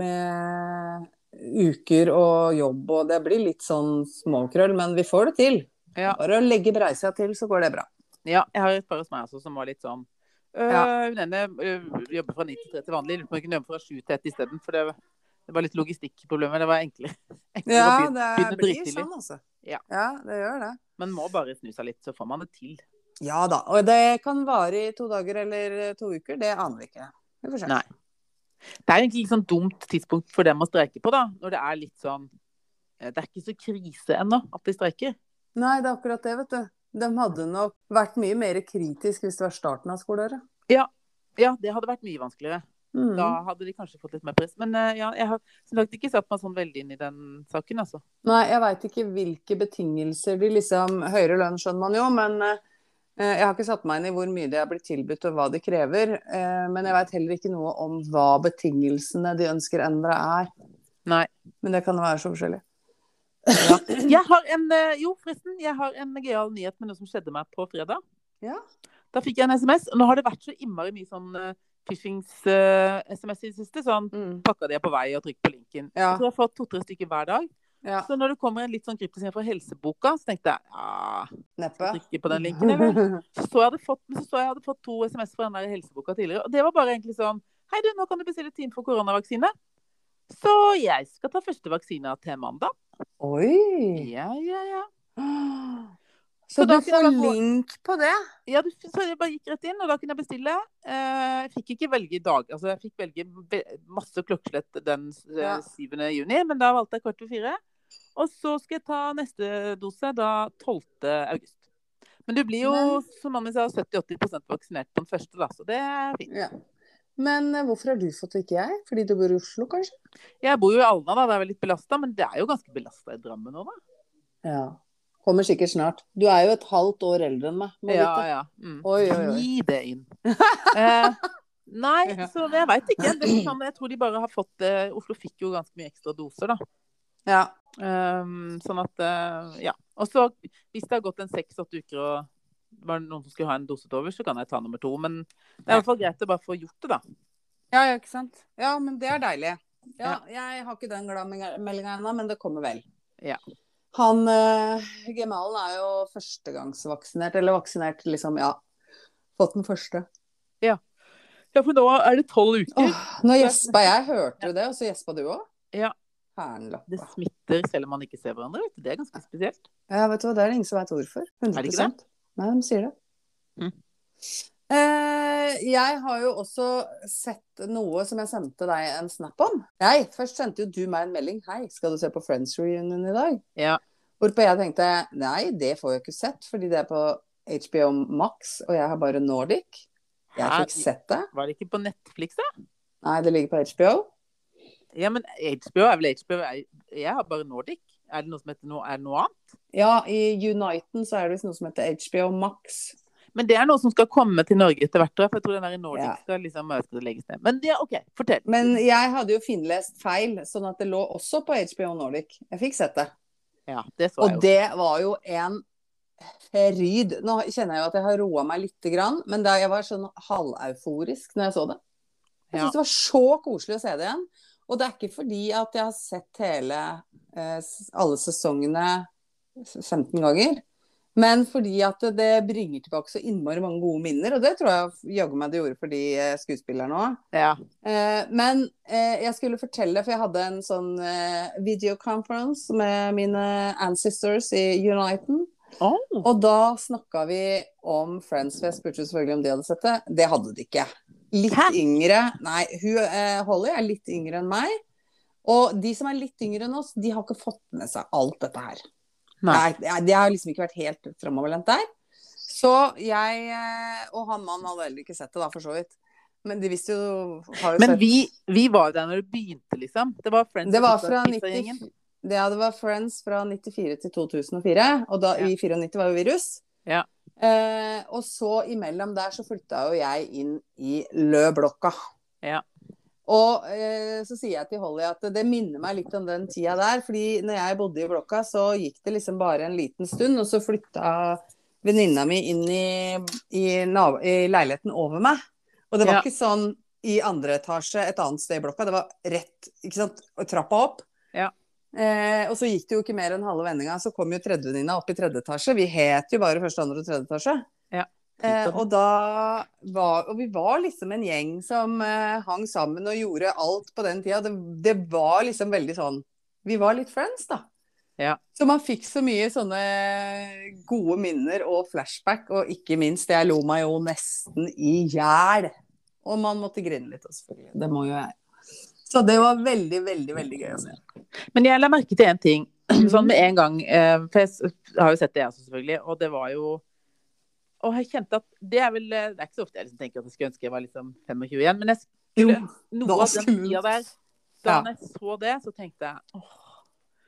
S3: med uker og jobb, og det blir litt sånn småkrøll, men vi får det til.
S2: Ja.
S3: Bare å legge breisa til, så går det bra.
S2: Ja, jeg har et par hos meg også som var litt sånn øh, Hun ene øh, jobber fra 9 til 3 til vanlig. Lurer på om hun kunne jobbe fra 7 til 1 isteden. For det, var- det var litt logistikkproblemer. Det var <laughs> enklere, enklere å begynne, begynne drittidlig.
S3: altså.
S2: Ja.
S3: det gjør det.
S2: Men må bare snu seg litt, så får man det til.
S3: Ja da. Og det kan vare i to dager eller to uker, det aner vi ikke. Vi får se.
S2: Nei. Det er egentlig litt sånn dumt tidspunkt for dem å streike på, da. Når det er litt sånn eh, Det er ikke så krise ennå at de streiker.
S3: Nei, det er akkurat det, vet du. De hadde nok vært mye mer kritisk hvis det var starten av skoleåret.
S2: Ja, det hadde vært mye vanskeligere.
S3: Mm.
S2: Da hadde de kanskje fått litt mer press. Men eh, ja, jeg har som sagt ikke satt meg sånn veldig inn i den saken, altså.
S3: Nei, jeg veit ikke hvilke betingelser de liksom Høyere lønn skjønner man jo, men eh, jeg har ikke satt meg inn i hvor mye de er blitt tilbudt og hva de krever. eh, Men jeg veit heller ikke noe om hva betingelsene de ønsker endra er.
S2: Nei.
S3: Men det kan være så forskjellig.
S2: Ja. Jeg har en, eh, jo, forresten, jeg har en gøyal nyhet med noe som skjedde meg på fredag.
S3: Ja.
S2: Da fikk jeg en SMS. og Nå har det vært så innmari mye sånn uh, phishings-SMS i det siste. Sånn pakka de er på vei og trykk på linken.
S3: Ja.
S2: Jeg tror jeg har fått to-tre stykker hver dag.
S3: Ja.
S2: Så når det kommer en litt sånn kryptisk en fra helseboka, så tenkte jeg ja,
S3: Neppe.
S2: skal jeg trykke på den linken, eller? Så så jeg hadde fått, men så så jeg hadde fått to SMS fra den der helseboka tidligere. Og det var bare egentlig sånn Hei, du, nå kan du bestille time for koronavaksine. Så jeg skal ta første vaksina til mandag.
S3: <laughs> Oi!
S2: Ja, ja, ja.
S3: Så
S2: Så
S3: du
S2: da kunne
S3: får
S2: jeg få-
S3: link på det?
S2: Ja, du, så jeg bare gikk rett inn, og da kunne jeg bestille. Eh, jeg fikk ikke velge i dag. Altså, jeg fikk velge be- masse klokkeslett den eh,
S3: Ja.
S2: 7. juni, men da valgte jeg kvart over fire. Og så skal jeg ta neste dose da 12. august. Men du blir jo,
S3: Men-
S2: som mamma sa, 70-80 vaksinert på den første, da, så det er fint.
S3: Ja. Men eh, hvorfor har du fått det, ikke jeg? Fordi du bor i Oslo, kanskje?
S2: Jeg bor jo i Alna, da, det er vel litt belasta, men det er jo ganske belasta i Drammen nå, da.
S3: Ja. Kommer sikkert snart. Du er jo et halvt år eldre enn meg. må
S2: Ja,
S3: vite.
S2: ja. Mm.
S3: Oi, oi, oi.
S2: Gi det inn. <laughs> Eh, nei,
S3: Ja.
S2: så jeg veit ikke. Det kan, jeg tror de bare har fått eh, Oslo fikk jo ganske mye ekstra doser, da.
S3: Ja.
S2: Um, sånn at eh, Ja. Og så, hvis det har gått en seks-åtte uker og var det noen som skulle ha en dose til over, så kan jeg ta nummer to. Men det er i hvert fall greit å bare få gjort det, da.
S3: Ja, ja, ikke sant. Ja, men det er deilig. Ja, jeg har ikke den gladmeldinga ennå, men det kommer vel.
S2: Ja.
S3: Han eh, Gemalen er jo førstegangsvaksinert, eller vaksinert, liksom, ja. Fått den første.
S2: Ja, for nå er det tolv uker.
S3: Åh, nå gjespa jeg. Hørte du det? Og så gjespa du òg?
S2: Ja. Det
S3: Hernlappa.
S2: smitter selv om man ikke ser hverandre. Vet du. Det er ganske spesielt.
S3: Ja, vet du hva, det er det ingen som veit hvorfor. 100
S2: Er det ikke
S3: Nei, de sier det.
S2: Mm.
S3: Eh, jeg har jo også sett noe som jeg sendte deg en snap om. Nei, først sendte jo du meg en melding. Hei, skal du se på Friends Reunion i dag?
S2: Ja.
S3: Hvorpå jeg tenkte nei, det får jeg ikke sett, fordi det er på HBO Max, og jeg har bare Nordic. Jeg
S2: Hæ?
S3: fikk sett det.
S2: Var det ikke på Netflix, da?
S3: Nei, det ligger på HBO.
S2: Ja, men HBO er vel HBO. er- Jeg har bare Nordic. Er det noe som heter noe, er det noe annet?
S3: Ja, i Uniten så er det visst noe som heter HBO Max.
S2: Men det er noe som skal komme til Norge etter hvert. tror jeg, For jeg tror den der i Nordic
S3: Ja.
S2: skal liksom jeg skal legges ned. Men det, OK, fortell.
S3: Men jeg hadde jo finlest feil, sånn at det lå også på HBO Nordic. Jeg fikk sett det.
S2: Ja, det så jeg
S3: Og
S2: jo.
S3: det var jo en fryd. Nå kjenner jeg jo at jeg har roa meg lite grann, men da jeg var sånn halveuforisk når jeg så det. Jeg
S2: Ja.
S3: syntes det var så koselig å se det igjen. Og det er ikke fordi at jeg har sett hele eh, s- alle sesongene 15 ganger. Men fordi at det- det bringer tilbake så innmari mange gode minner, og det tror jeg jaggu meg det gjorde for de eh, skuespillerne òg.
S2: Ja.
S3: Eh, men eh, jeg skulle fortelle, for jeg hadde en sånn eh, videoconference med mine ancestors i Uniten.
S2: Oh.
S3: Og da snakka vi om Friends, for jeg spurte selvfølgelig om de hadde sett det. Det hadde de ikke. Litt
S2: Hæ?
S3: yngre Nei, hun, eh, Holly er litt yngre enn meg. Og de som er litt yngre enn oss, de har ikke fått med seg alt dette her.
S2: Nei.
S3: Nei, det har liksom ikke vært helt framoverlent der. Så jeg eh, og han mannen hadde heller ikke sett det, da, for så vidt. Men de visste jo har jo
S2: Men
S3: sett-
S2: vi, vi var jo der når det begynte, liksom. Det var Friends
S3: Det var
S2: og
S3: fra
S2: Pizza-
S3: 90,
S2: Pizzagjengen.
S3: det, ja, det var Friends fra 94 til 2004, og da,
S2: Ja.
S3: i 94 var jo virus.
S2: Ja.
S3: Eh, og så imellom der så flytta jo jeg inn i Lø-blokka.
S2: Ja.
S3: Og eh, så sier jeg til Holly at det minner meg litt om den tida der. fordi når jeg bodde i blokka, så gikk det liksom bare en liten stund, og så flytta venninna mi inn i, i, nabo- i leiligheten over meg. Og det var
S2: Ja.
S3: ikke sånn i andre etasje et annet sted i blokka. Det var rett ikke sant, og trappa opp.
S2: Ja.
S3: Eh, og så gikk det jo ikke mer enn halve vendinga, så kom jo tredjevenninna opp i tredje etasje. Vi het jo bare første, andre og tredje etasje.
S2: Ja.
S3: Eh, og da var Og vi var liksom en gjeng som eh, hang sammen og gjorde alt på den tida. Det, det var liksom veldig sånn Vi var litt friends, da.
S2: Ja.
S3: Så man fikk så mye sånne gode minner og flashback, og ikke minst Jeg lo meg jo nesten i hjel. Og man måtte grine litt, også, selvfølgelig. Det må jo jeg. Så det var veldig, veldig, veldig gøy å se.
S2: Men jeg la merke til en ting. <clears throat> Sånn med en gang. eh, For jeg s- har jo sett det, jeg også, selvfølgelig. Og det var jo Og jeg kjente at det er vel eh, Det er ikke så ofte jeg liksom tenker at jeg skulle ønske jeg var liksom 25 igjen, men jeg,
S3: Jo.
S2: noe
S3: Da
S2: av den
S3: skulle-
S2: tida der Da
S3: Ja.
S2: jeg så det, så tenkte jeg åh,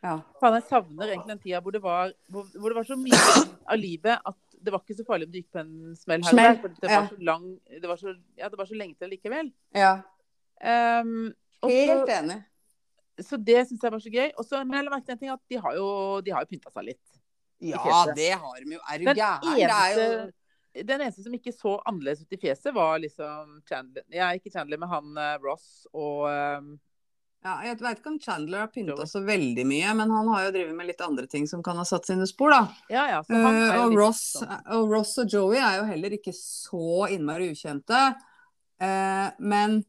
S3: Ja.
S2: faen, jeg savner egentlig den tida hvor det var, hvor, hvor det var så mye av livet at det var ikke så farlig om du gikk på en smell her og
S3: Smell,
S2: der. For det var
S3: ja.
S2: så lang det var så, Ja, det var så lenge til likevel.
S3: ja.
S2: Um, og så-
S3: Helt enig.
S2: så det syns jeg var så gøy. Og så- men jeg la merke til en ting at de har jo, de har jo pynta seg litt.
S3: Ja, det har de jo. Er du
S2: Den
S3: gæren? Det er jo
S2: eneste, den eneste som ikke så annerledes ut i fjeset, var liksom Chandler Ja, ikke Chandler, men han eh, Ross og eh,
S3: ja, Jeg veit ikke om Chandler har pynta så veldig mye, men han har jo drevet med litt andre ting som kan ha satt sine spor, da.
S2: Ja, ja. Så han er
S3: Eh,
S2: jo
S3: og,
S2: litt
S3: Ross,
S2: sånn.
S3: og Ross og Joey er jo heller ikke så innmari ukjente. Eh, men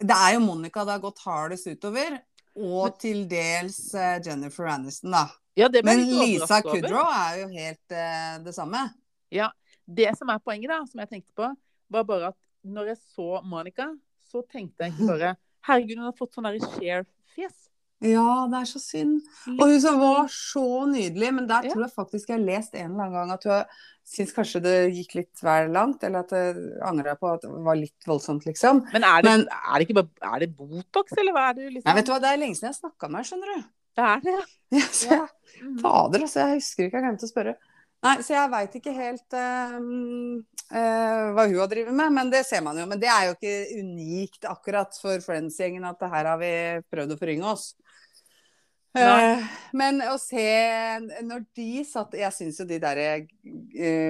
S3: det er jo Monica det har gått hardest utover. Og til dels eh, Jennifer Aniston, da.
S2: Ja, det ble jeg
S3: Men
S2: litt
S3: Lisa
S2: overrasket over.
S3: Kudrow er jo helt eh, det samme.
S2: Det som er poenget, da, som jeg tenkte på, var bare at når jeg så Monica, så tenkte jeg ikke bare Herregud, hun har fått sånn derre share-fjes.
S3: Ja, det er så synd. Og hun som var så nydelig, men der
S2: Ja.
S3: tror jeg faktisk jeg har lest en eller annen gang at hun syns kanskje det gikk litt vel langt, eller at eh, jeg angra på at det var litt voldsomt, liksom.
S2: Men, er det,
S3: Men-
S2: er det ikke bare Er det Botox, eller hva er det liksom?
S3: Nei, vet du hva, det er lenge siden jeg har snakka med henne, skjønner du.
S2: Det er det.
S3: <laughs> Ja, så jeg,
S2: Mm.
S3: fader, altså, jeg husker ikke, jeg glemte å spørre. Nei, så jeg veit ikke helt eh, eh, hva hun har drevet med, men det ser man jo. Men det er jo ikke unikt akkurat for Friends-gjengen at det her har vi prøvd å forynge oss.
S2: Nei.
S3: Eh, Men å se Når de satt Jeg syns jo de der eh,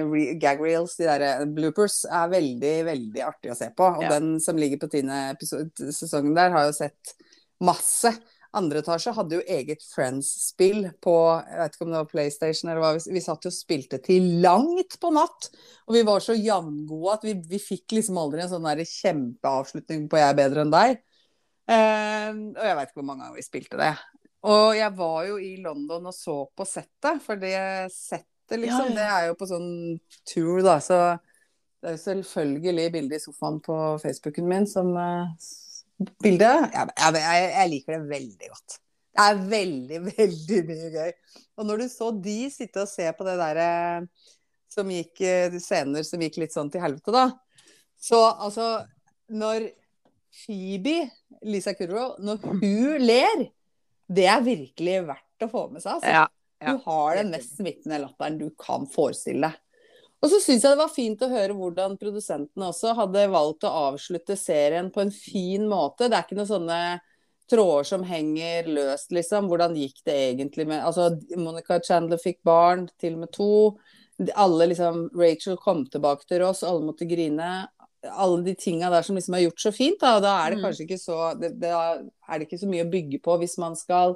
S3: re- gag reels, de der bloopers, er veldig, veldig artig å se på. Og
S2: Ja.
S3: den som ligger på tiende episo- sesongen der, har jo sett masse. Andre etasje hadde jo eget Friends-spill på jeg vet ikke om det var PlayStation eller hva. Vi, vi satt jo og spilte til langt på natt. Og vi var så jamngode at vi, vi fikk liksom aldri en sånn der kjempeavslutning på 'jeg er bedre enn deg'. Eh, og jeg veit ikke hvor mange ganger vi spilte det. Og jeg var jo i London og så på settet, for det settet
S2: Ja, ja.
S3: liksom, det er jo på sånn tour, da, så det er jo selvfølgelig bildet i sofaen på Facebooken min som eh, s- bilde. Jeg, jeg, jeg, jeg liker det veldig godt. Det er veldig, <laughs> veldig mye gøy. Og når du så de sitte og se på det derre som gikk eh, de Scener som gikk litt sånn til helvete, da. Så altså Når Phoebe, Lisa Kudrow, når hun ler, det er virkelig verdt å få med seg, altså.
S2: Ja.
S3: Du har den mest smittende latteren du kan forestille deg. Og så syns jeg det var fint å høre hvordan produsentene også hadde valgt å avslutte serien på en fin måte. Det er ikke noen sånne tråder som henger løst, liksom. Hvordan gikk det egentlig med Altså, Monica Chandler fikk barn, til og med to. De- Alle liksom Rachel kom tilbake til Ross, alle måtte grine. Alle de tinga der som liksom er gjort så fint, da. Da er det
S2: Mm.
S3: kanskje ikke så det, det er, er det ikke så mye å bygge på hvis man skal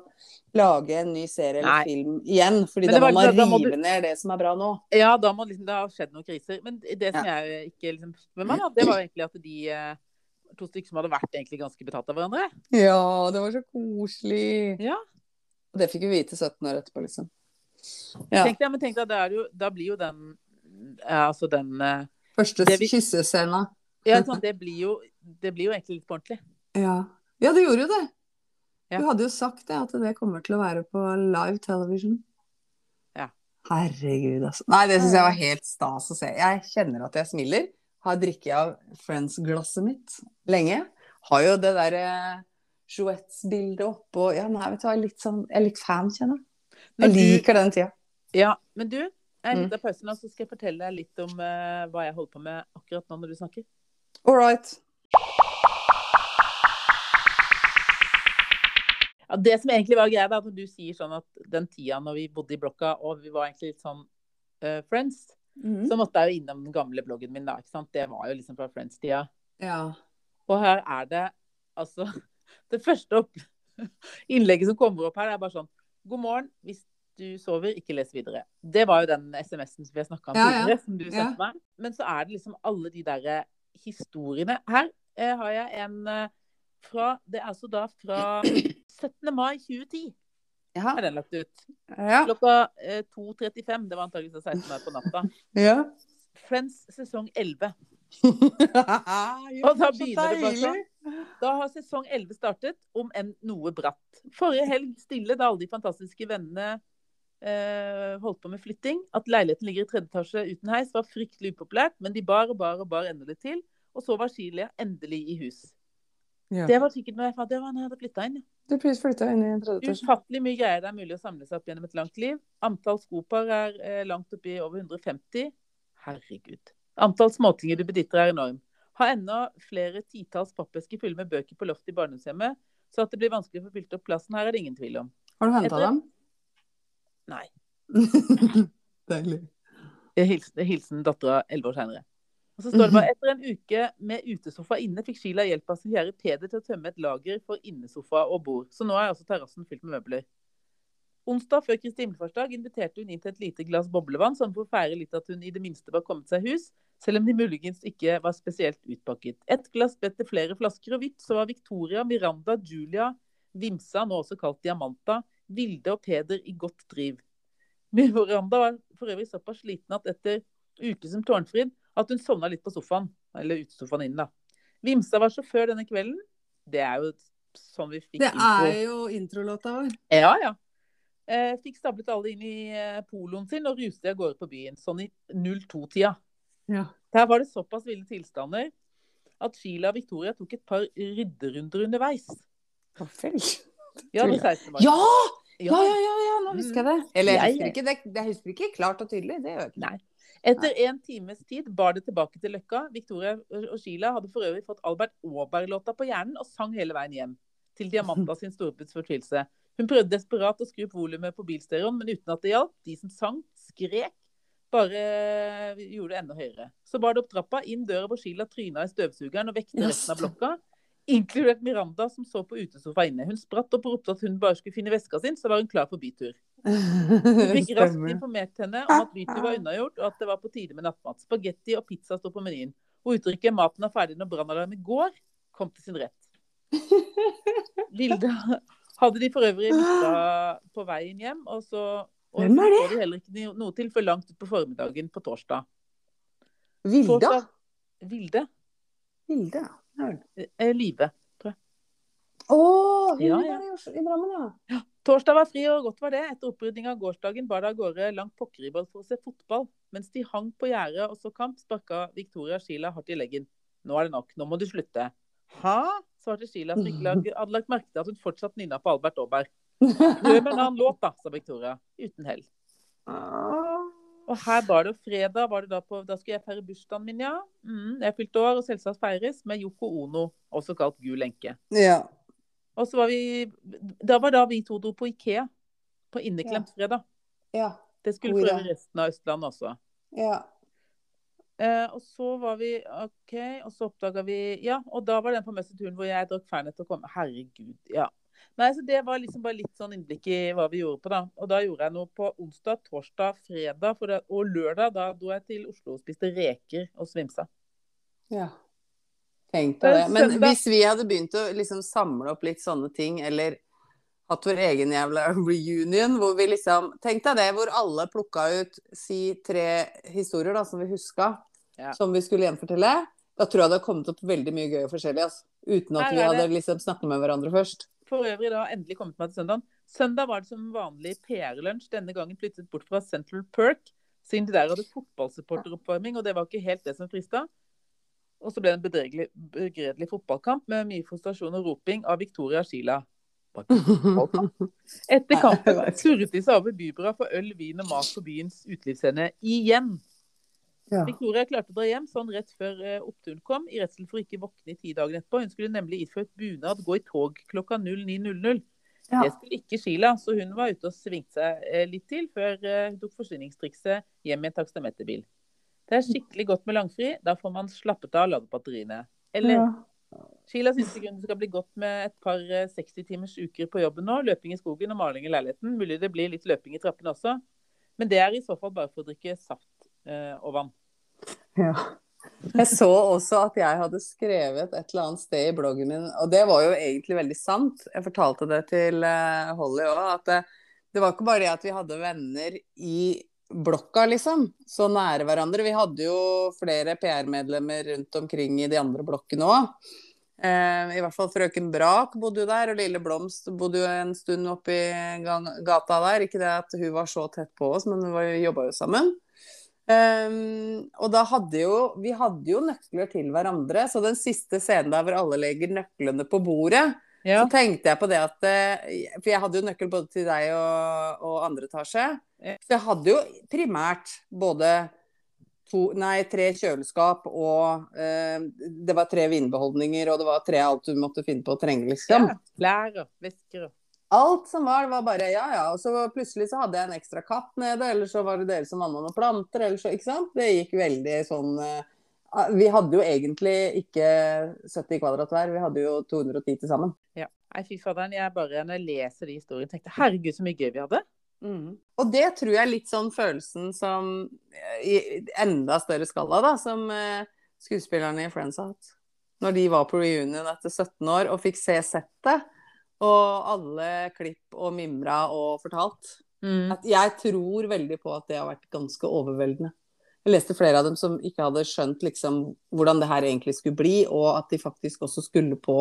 S3: lage en ny serie
S2: Nei.
S3: eller film igjen. Fordi
S2: Men
S3: liksom, da
S2: det var-
S3: må man
S2: da- da må
S3: rive
S2: du-
S3: ned det som er bra nå.
S2: Ja, da må liksom, det har skjedd noen kriser. Men det som jeg ikke liksom, fikk med meg, da, det var jo egentlig at de eh, to stykker som hadde vært egentlig ganske betatt av hverandre.
S3: Ja, det var så koselig.
S2: Ja.
S3: Og det fikk vi vite 17 år etterpå, liksom. Ja.
S2: Tenkte jeg, men tenkte jeg, det er jo, da blir jo den eh, Altså den eh,
S3: Første
S2: Det vi-
S3: kyssescena.
S2: Ja, ikke sant, det blir jo, det blir jo egentlig litt på ordentlig.
S3: Ja. ja, det gjorde jo det.
S2: Ja.
S3: Du hadde jo sagt det, at det kommer til å være på live television.
S2: Ja.
S3: Herregud, altså. Nei, det syns jeg var helt stas å se. Jeg kjenner at jeg smiler. Har drikket av Friends-glasset mitt lenge. Har jo det derre Jouettes-bildet oppå Ja, nei, vet du hva, jeg er litt sånn Jeg er litt fan, kjenner jeg.
S2: Men
S3: Jeg
S2: du-
S3: liker den tida.
S2: Ja, men du, jeg
S3: Mm.
S2: henter pausen, og så skal jeg fortelle deg litt om eh, hva jeg holder på med akkurat nå når du snakker.
S3: All right.
S2: Ja, det som egentlig var greia, da, når du sier sånn at den tida når vi bodde i blokka, og vi var egentlig litt sånn eh, friends,
S3: Mm.
S2: Mm. så måtte jeg jo innom den gamle bloggen min da, ikke sant? Det var jo liksom fra friends-tida.
S3: Ja.
S2: Og her er det altså <laughs> Det første opp, <laughs> innlegget som kommer opp her, er bare sånn God morgen. Hvis du sover, ikke les videre. Det var jo den SMS-en som vi har snakka om
S3: Ja, ja.
S2: tidligere, som du sendte
S3: Ja.
S2: meg. Men så er det liksom alle de derre historiene. Her eh, har jeg en eh, fra Det er altså da fra
S3: <clears throat>
S2: 17. mai 2010
S3: Ja.
S2: er den lagt ut.
S3: Ja.
S2: Klokka eh, 2.35. Det var antakeligvis 16 her på natta. <laughs>
S3: ja.
S2: Friends sesong 11.
S3: og
S2: Og da begynner det bare sånn. Da har sesong 11 startet, om enn noe bratt. Forrige helg stille da alle de fantastiske vennene eh, holdt på med flytting. At leiligheten ligger i tredje etasje uten heis var fryktelig upopulært, men de bar og bar og bar endelig til. Og så var Chilia endelig i hus.
S3: Ja.
S2: Det var sikkert når jeg, fa- det var når jeg hadde flytta inn. ja.
S3: Du plutselig flytta inn i en tredje etasje.
S2: Ufattelig mye greier det er mulig å samle seg opp gjennom et langt liv. Antall skopar er eh, langt oppi over 150. Herregud. Antall småtinger du beditter er enorm. Har ennå flere titalls pappesker fulle med bøker på loftet i barndomshjemmet, så at det blir vanskelig å få fylt opp plassen her, er det ingen tvil om.
S3: Har du henta
S2: Etter-
S3: dem?
S2: Nei.
S3: <laughs> Deilig.
S2: Eh, Hilsen, hilsen dattera elleve år seinere. Og så står det bare etter en uke med utesofa inne fikk Sheila hjelp av sin kjære Peder til å tømme et lager for innesofa og bord. Så nå er altså terrassen fylt med møbler. Onsdag før Kristi himmelfartsdag inviterte hun inn til et lite glass boblevann, sånn for å feire litt at hun i det minste var kommet seg i hus, selv om de muligens ikke var spesielt utpakket. Ett glass bedt til flere flasker, og vips så var Victoria, Miranda, Julia, Vimsa, nå også kalt Diamanta, Vilde og Peder i godt driv. Miranda var for øvrig såpass sliten at etter uke som tårnfrid at hun sovna litt på sofaen. Eller utesofaen inne, da. Vimsa var sjåfør denne kvelden. Det er jo sånn vi fikk
S3: Det
S2: info.
S3: er jo introlåta vår.
S2: Ja, ja. Eh, fikk stablet alle inn i eh, poloen sin og ruste av gårde på byen. Sånn i 02-tida.
S3: Ja.
S2: Der var det såpass ville tilstander at Sheila og Victoria tok et par rydderunder underveis. Ja, den 16. mai.
S3: Ja! Ja, ja, ja, ja, nå husker jeg det. Eller jeg
S2: Jeg-
S3: husker ikke, det, jeg husker ikke klart og tydelig. Det gjør jeg ikke.
S2: Nei. Etter en times tid bar det tilbake til Løkka. Victoria og Sheila hadde for øvrig fått Albert Aaberg-låta på hjernen og sang hele veien hjem. Til Diamanta sin storebrods fortvilelse. Hun prøvde desperat å skru opp volumet på bilstereoen, men uten at det hjalp. De som sang, skrek. Bare gjorde det enda høyere. Så bar det opp trappa, inn døra hvor Sheila tryna i støvsugeren og vekte
S3: Yes.
S2: resten av blokka. Inkludert Miranda, som så på utesofa inne. Hun spratt opp og ropte at hun bare skulle finne veska sin, så var hun klar for bytur. Hun
S3: <laughs>
S2: fikk raskt
S3: Stemmer.
S2: informert henne om at bytur var unnagjort, og at det var på tide med nattmat. Spagetti og pizza står på menyen. Og uttrykket 'maten er ferdig når brannalarmen går' kom til sin
S3: <laughs>
S2: rett. Vilde hadde de for øvrig mista på veien hjem, og så og
S3: Hvem er det?
S2: så får de heller ikke noe til før langt utpå formiddagen på torsdag.
S3: Vilda?
S2: Torsdag- Vilde?
S3: Vilda.
S2: Eh, Live.
S3: Å, hun
S2: Ja,
S3: er
S2: ja.
S3: i Oslo- i Drammen, ja.
S2: Torsdag var fri, og godt var det. Etter opprydning av gårsdagen bar det av gårde langt pokkeriball for å se fotball. Mens de hang på gjerdet og så kamp, sparka Victoria Sheila hardt i leggen. Nå er det nok, nå må du slutte. Hæ? svarte Sheila, som ikke lag- hadde lagt merke til at hun fortsatt nynna på Albert Aaberg. Prøv med en annen låt, da, sa Victoria. Uten hell. Og her var det jo fredag, var det da, på, da skulle jeg feire bursdagen min, ja. Mm, jeg fylte år, og selvsagt feires med Yoko Ono, også kalt gul enke.
S3: <laughs> Ja.
S2: Og så var vi Da var da vi to dro på Ikea. På inneklemt fredag.
S3: Ja.
S2: Det skulle
S3: God
S2: for
S3: idé.
S2: øvrig resten av Østlandet også.
S3: Ja.
S2: Eh, og så var vi OK, og så oppdaga vi Ja, og da var den famøse turen hvor jeg drakk Fernet og kom Herregud, ja. Nei, så Det var liksom bare litt sånn innblikk i hva vi gjorde på, da. Og da gjorde jeg noe på onsdag, torsdag, fredag for det, og lørdag. Da dro jeg til Oslo og spiste reker og svimsa.
S3: ja. Tenk deg det. Men
S2: Søndag-
S3: hvis vi hadde begynt å liksom samle opp litt sånne ting, eller hatt vår egen jævla <laughs> reunion, hvor vi liksom Tenk deg det, hvor alle plukka ut si tre historier da, som vi huska,
S2: Ja.
S3: som vi skulle gjenfortelle. Da tror jeg det hadde kommet opp veldig mye gøy og forskjellig, altså. Uten at
S2: Her
S3: vi
S2: er
S3: hadde
S2: det.
S3: liksom snakket med hverandre først.
S2: for øvrig da endelig kommet meg til søndagen. Søndag var det som vanlig PR-lunsj, denne gangen flyttet bort fra Central Perk, siden de der hadde fotballsupporteroppvarming, og det var ikke helt det som frista. Og så ble det en bedregelig, begredelig fotballkamp med mye frustrasjon og roping av Victoria Sheila. Etter kampen surret de seg over bybra for øl, vin og mat på byens utelivsscene igjen.
S3: Ja.
S2: Victoria klarte å dra hjem sånn rett før eh, oppturen kom, i redsel for ikke å våkne i ti dager etterpå. Hun skulle nemlig iført bunad, gå i tog klokka 09.00.
S3: Ja.
S2: Det skulle ikke Sheila, så hun var ute og svingte seg eh, litt til før eh, hun tok forsvinningstrikset hjem i en taksameterbil. Det er skikkelig godt med langfri. Da får man slappet av og ladet batteriene. Eller
S3: Ja.
S2: Sheila syns ikke hun skal bli godt med et par eh, 60-timers uker på jobben nå. Løping i skogen og maling i leiligheten. Mulig det blir litt løping i trappene også. Men det er i så fall bare for å drikke saft eh, og vann.
S3: Ja. Jeg så også at jeg hadde skrevet et eller annet sted i bloggen min, og det var jo egentlig veldig sant. Jeg fortalte det til eh, Holly òg, at det, det var ikke bare det at vi hadde venner i blokka, liksom, så nære hverandre. Vi hadde jo flere PR-medlemmer rundt omkring i de andre blokkene òg. Eh, I hvert fall frøken Brak bodde jo der, og Lille Blomst bodde jo en stund oppi gang- gata der. Ikke det at hun var så tett på oss, men vi jobba jo sammen. Um, og da hadde jo vi hadde jo nøkler til hverandre, så den siste scenen der hvor alle legger nøklene på bordet,
S2: Ja.
S3: så tenkte jeg på det at eh, For jeg hadde jo nøkkel både til deg og, og andre etasje.
S2: Ja.
S3: Så jeg hadde jo primært både to, nei, tre kjøleskap og eh, Det var tre vinbeholdninger, og det var tre alt du måtte finne på å trenge, liksom.
S2: Klær og vesker og
S3: Alt som var, det var bare ja, ja. Og så plutselig så hadde jeg en ekstra katt nede, eller så var det dere som vanna noen planter, eller så Ikke sant? Det gikk veldig sånn eh, ah, Vi hadde jo egentlig ikke 70 kvadrat hver, vi hadde jo 210 til sammen.
S2: ja. Nei, fy faderen. Jeg bare når jeg leser de historiene, tenkte herregud, så mye gøy vi hadde.
S3: Og det tror jeg er litt sånn følelsen som eh, I enda større skala, da, som eh, skuespillerne i Friends har hatt. Når de var på reunion etter 17 år og fikk se settet, og alle klipp og mimra og fortalt.
S2: Mm.
S3: at jeg tror veldig på at det har vært ganske overveldende. Jeg leste flere av dem som ikke hadde skjønt liksom, hvordan det her egentlig skulle bli, og at de faktisk også skulle på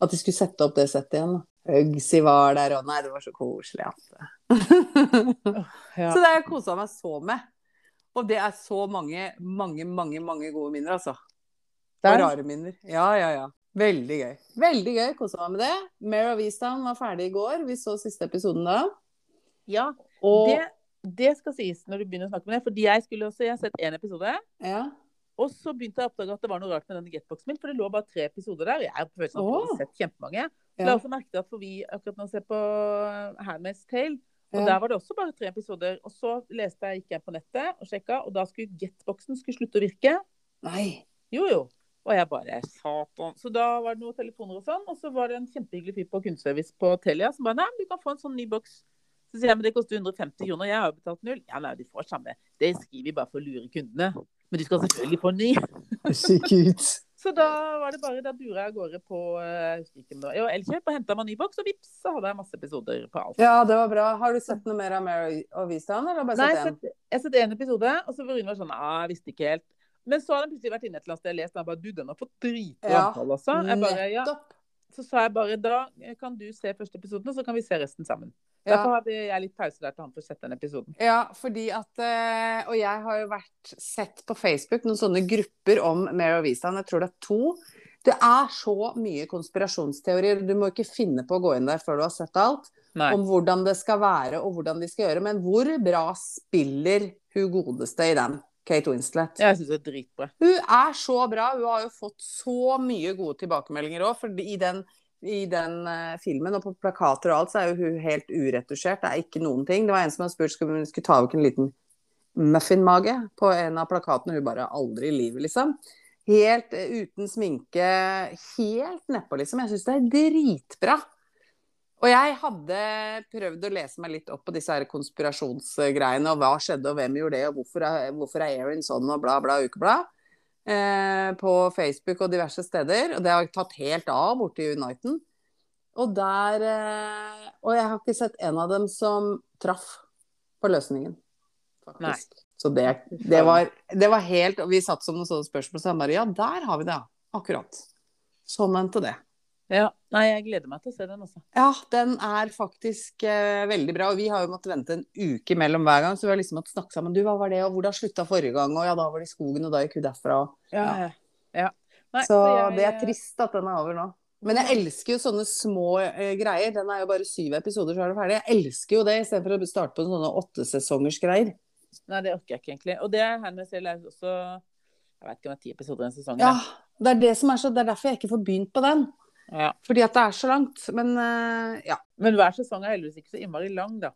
S3: At de skulle sette opp det settet igjen. da. Uggsy var der, og nei, det var så koselig at <laughs>
S2: Ja.
S3: Så det har jeg kosa meg så med. Og det er så mange, mange, mange mange gode minner, altså. Og
S2: Der.
S3: rare minner. Ja, ja, ja. Veldig gøy. Veldig gøy. Kosa meg med det. Mare of Easttown var ferdig i går. Vi så siste episoden da.
S2: ja.
S3: Og
S2: Det, det skal sies når du begynner å snakke om det, fordi jeg skulle også Jeg har sett én episode.
S3: Ja.
S2: Og så begynte jeg å oppdage at det var noe rart med denne getboxen min, for det lå bare tre episoder der. og Jeg har på følelsen av at jeg
S3: Åh.
S2: har sett kjempemange.
S3: Ja.
S2: La oss merke til at for vi akkurat nå ser på eh, Handmaid's Tale, og
S3: Ja.
S2: der var det også bare tre episoder. Og så leste jeg, gikk jeg på nettet og sjekka, og da skulle getboxen skulle slutte å virke.
S3: Nei.
S2: Jo, jo. Og jeg bare satan. Så da var det noen telefoner og sånn, og så var det en kjempehyggelig fyr på kundeservice på Telia som bare nei, men du kan få en sånn ny boks. Så sier jeg men det koster 150 kroner, jeg har jo betalt null. Ja, nei, du får samme. Det skriver vi bare for å lure kundene. Men du skal selvfølgelig få en ny.
S3: Herregud.
S2: Så da var det bare, da dura jeg av gårde på eh, husker ikke om det var- jo, Elkjøp og henta meg en ny boks, og vips, så hadde jeg masse episoder på alt.
S3: Ja, det var bra. Har du sett noe mer av Mary og Vistein, eller har du bare
S2: Nei, jeg
S3: sett én?
S2: sett- jeg har sett én episode, og så var Rune var sånn ah, jeg visste ikke helt. Men så har han plutselig vært inne et eller annet sted og lest, og jeg bare du, den har fått dritbra
S3: Ja,
S2: antall også. Jeg bare, ja.
S3: Nettopp.
S2: Så sa jeg bare da kan du se første episoden, og så kan vi se resten sammen.
S3: Ja.
S2: Derfor hadde jeg litt pause der til han får sett den episoden.
S3: ja, fordi at eh, Og jeg har jo vært sett på Facebook noen sånne grupper om Mary og Vistein. Jeg tror det er to. Det er så mye konspirasjonsteorier. Du må ikke finne på å gå inn der før du har sett alt.
S2: Nei.
S3: Om hvordan det skal være og hvordan de skal gjøre. Men hvor bra spiller hun godeste i den? Kate Winslet.
S2: Jeg syns det er dritbra.
S3: Hun er så bra. Hun har jo fått så mye gode tilbakemeldinger òg. For i den, i den eh, filmen og på plakater og alt, så er jo hun helt uretusjert. Det er ikke noen ting. Det var en som hadde spurt om hun skulle ta ut en liten muffinmage på en av plakatene. Hun bare aldri i livet, liksom. Helt eh, uten sminke, helt nedpå, liksom. Jeg syns det er dritbra. Og jeg hadde prøvd å lese meg litt opp på disse her konspirasjonsgreiene, og hva skjedde, og hvem gjorde det, og hvorfor er, hvorfor er Erin sånn, og bla, bla, ukeblad eh, på Facebook og diverse steder. Og det har tatt helt av borte i Uniten. Og der eh, Og jeg har ikke sett en av dem som traff på løsningen,
S2: Nei.
S3: faktisk. Så det, det, var, det var helt Og vi satt som noen sånne spørsmål, så han bare Ja, der har vi det, ja. Akkurat. Sånn endte det.
S2: Ja. Nei, jeg gleder meg til å se den altså. også.
S3: Ja, den er faktisk eh, veldig bra. Og vi har jo måttet vente en uke mellom hver gang, så vi har liksom måttet snakke sammen. Du, hva var det, og hvordan slutta forrige gang, og ja, da var det i skogen, og da gikk hun derfra. og-
S2: Ja. ja. Nei,
S3: så
S2: jeg-
S3: det er trist at den er over nå. Men jeg elsker jo sånne små eh, greier. Den er jo bare syv episoder, så er det ferdig. Jeg elsker jo det, istedenfor å starte på sånne åttesesongers greier.
S2: Nei, det orker jeg ikke egentlig. Og det er Handmaid's Tale er også Jeg vet ikke om det er ti episoder i en sesong.
S3: Ja, det er det som er så Det er derfor jeg ikke får begynt på den.
S2: da. Ja.
S3: Fordi at det er så langt. Men eh, ja.
S2: Men hver sesong er heldigvis ikke så innmari lang, da.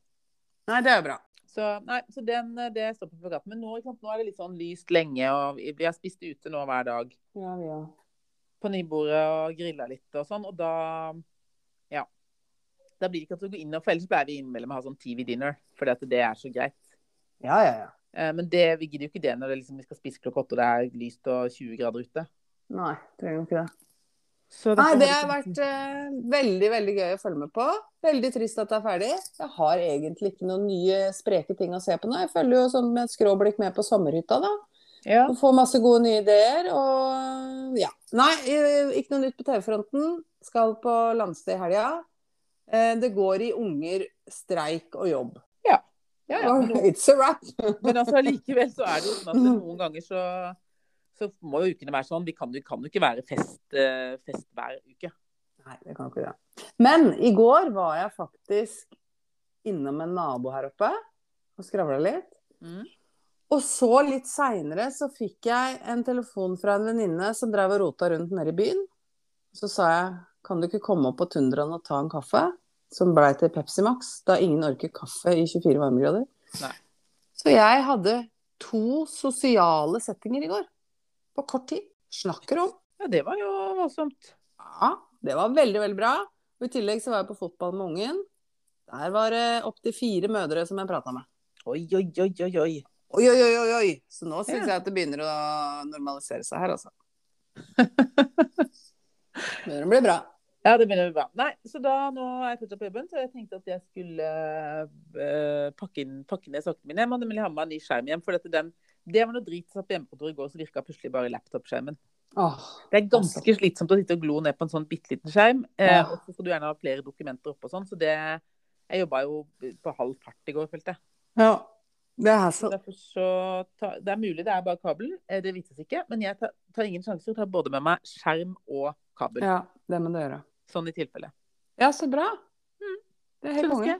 S3: Nei, det er jo bra.
S2: Så, nei, så den, eh, det står på plakaten. Men nå, ikke sant, nå er det litt sånn lyst lenge, og vi vi har spist ute nå hver dag.
S3: Ja, vi òg.
S2: På nybordet og grilla litt og sånn, og da Ja. Da blir det ikke at du går inn, og for ellers pleier vi innimellom å ha sånn TV-dinner, fordi at det er så greit.
S3: Ja, ja, ja.
S2: Eh, Men det, vi gidder jo ikke det når det liksom, vi skal spise klokka åtte og det er lyst og 20 grader ute.
S3: Nei, trenger jo ikke det.
S2: Så
S3: Nei,
S2: derfor-
S3: det har vært eh, veldig, veldig gøy å følge med på. Veldig trist at det er ferdig. Jeg har egentlig ikke noen nye spreke ting å se på nå. Jeg følger jo sånn med et skråblikk med på sommerhytta, da.
S2: liksom- ja.
S3: Og får masse gode nye ideer. Og ja. Nei, eh, ikke noe nytt på TV-fronten. Skal på landsted i helga. Eh, Det går i unger, streik og jobb.
S2: ja, ja.
S3: It's a wrap.
S2: Men altså likevel så er det jo sånn <laughs> at noen ganger så, så må jo ukene være sånn. Vi kan, vi kan jo ikke være fest, eh, fest hver uke.
S3: Nei, det kan ikke det. Men i går var jeg faktisk innom en nabo her oppe og skravla litt.
S2: Mm.
S3: Og så litt seinere så fikk jeg en telefon fra en venninne som drev og rota rundt nede i byen. Så sa jeg kan du ikke komme opp på Tundraen og ta en kaffe? Som blei til Pepsi Max, da ingen orker kaffe i 24 varmegrader.
S2: Nei.
S3: Så jeg hadde to sosiale settinger i går. På kort tid. Snakker om.
S2: Ja, det var jo voldsomt.
S3: Ja, det var veldig, veldig bra. Og I tillegg så var jeg på fotball med ungen. Der var det opptil fire mødre som jeg prata med.
S2: Oi, oi, oi, oi, oi.
S3: Oi, oi, oi, oi, oi. Så nå syns
S2: Ja.
S3: jeg at det begynner å normalisere seg her, <laughs> altså. Begynner å bli bra.
S2: Ja, det begynner bra. Nei, så da nå er jeg fortsatt på jobben, så jeg tenkte at jeg skulle eh, pakke, inn, pakke ned sakene mine. Jeg må nemlig ha med meg en ny skjerm hjem. For dette, den, det var noe drit som satt på hjemmekontoret i går, så virka plutselig bare laptopskjermen.
S3: Åh,
S2: Det er ganske slitsomt å sitte og glo ned på en sånn bitte liten skjerm. Eh,
S3: Ja.
S2: Og så skal du gjerne ha flere dokumenter oppe og sånn, så det Jeg jobba jo på halv fart i går, følte jeg.
S3: ja. Det er så
S2: Derfor så ta, Det er mulig det er bare kabelen, eh, det vites ikke. Men jeg tar, tar ingen sjanser og tar både med meg skjerm og kabel.
S3: Ja, det må du gjøre.
S2: Sånn i tilfelle.
S3: Ja, så bra. Det er helt konge.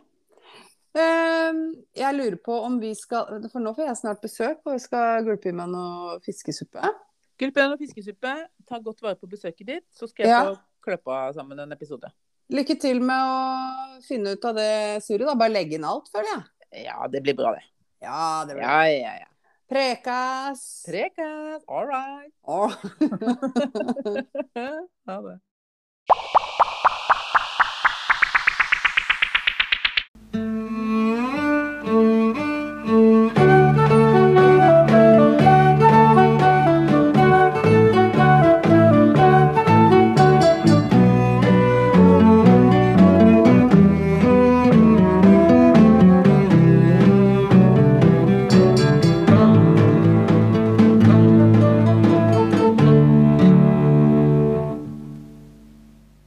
S3: Ehm, Jeg lurer på om vi skal For nå får jeg snart besøk, og jeg skal gulpe i meg noe fiskesuppe.
S2: Gulpen og fiskesuppe, ta godt vare på besøket ditt, så skal jeg
S3: Ja.
S2: få kløppa sammen en episode.
S3: Lykke til med å finne ut av det surret, da. Bare legge inn alt, føler jeg.
S2: Ja, det blir bra, det.
S3: Ja, det blir bra.
S2: Ja, ja, ja.
S3: Prekas!
S2: Trekas. All right.
S3: Åh.
S2: ha det.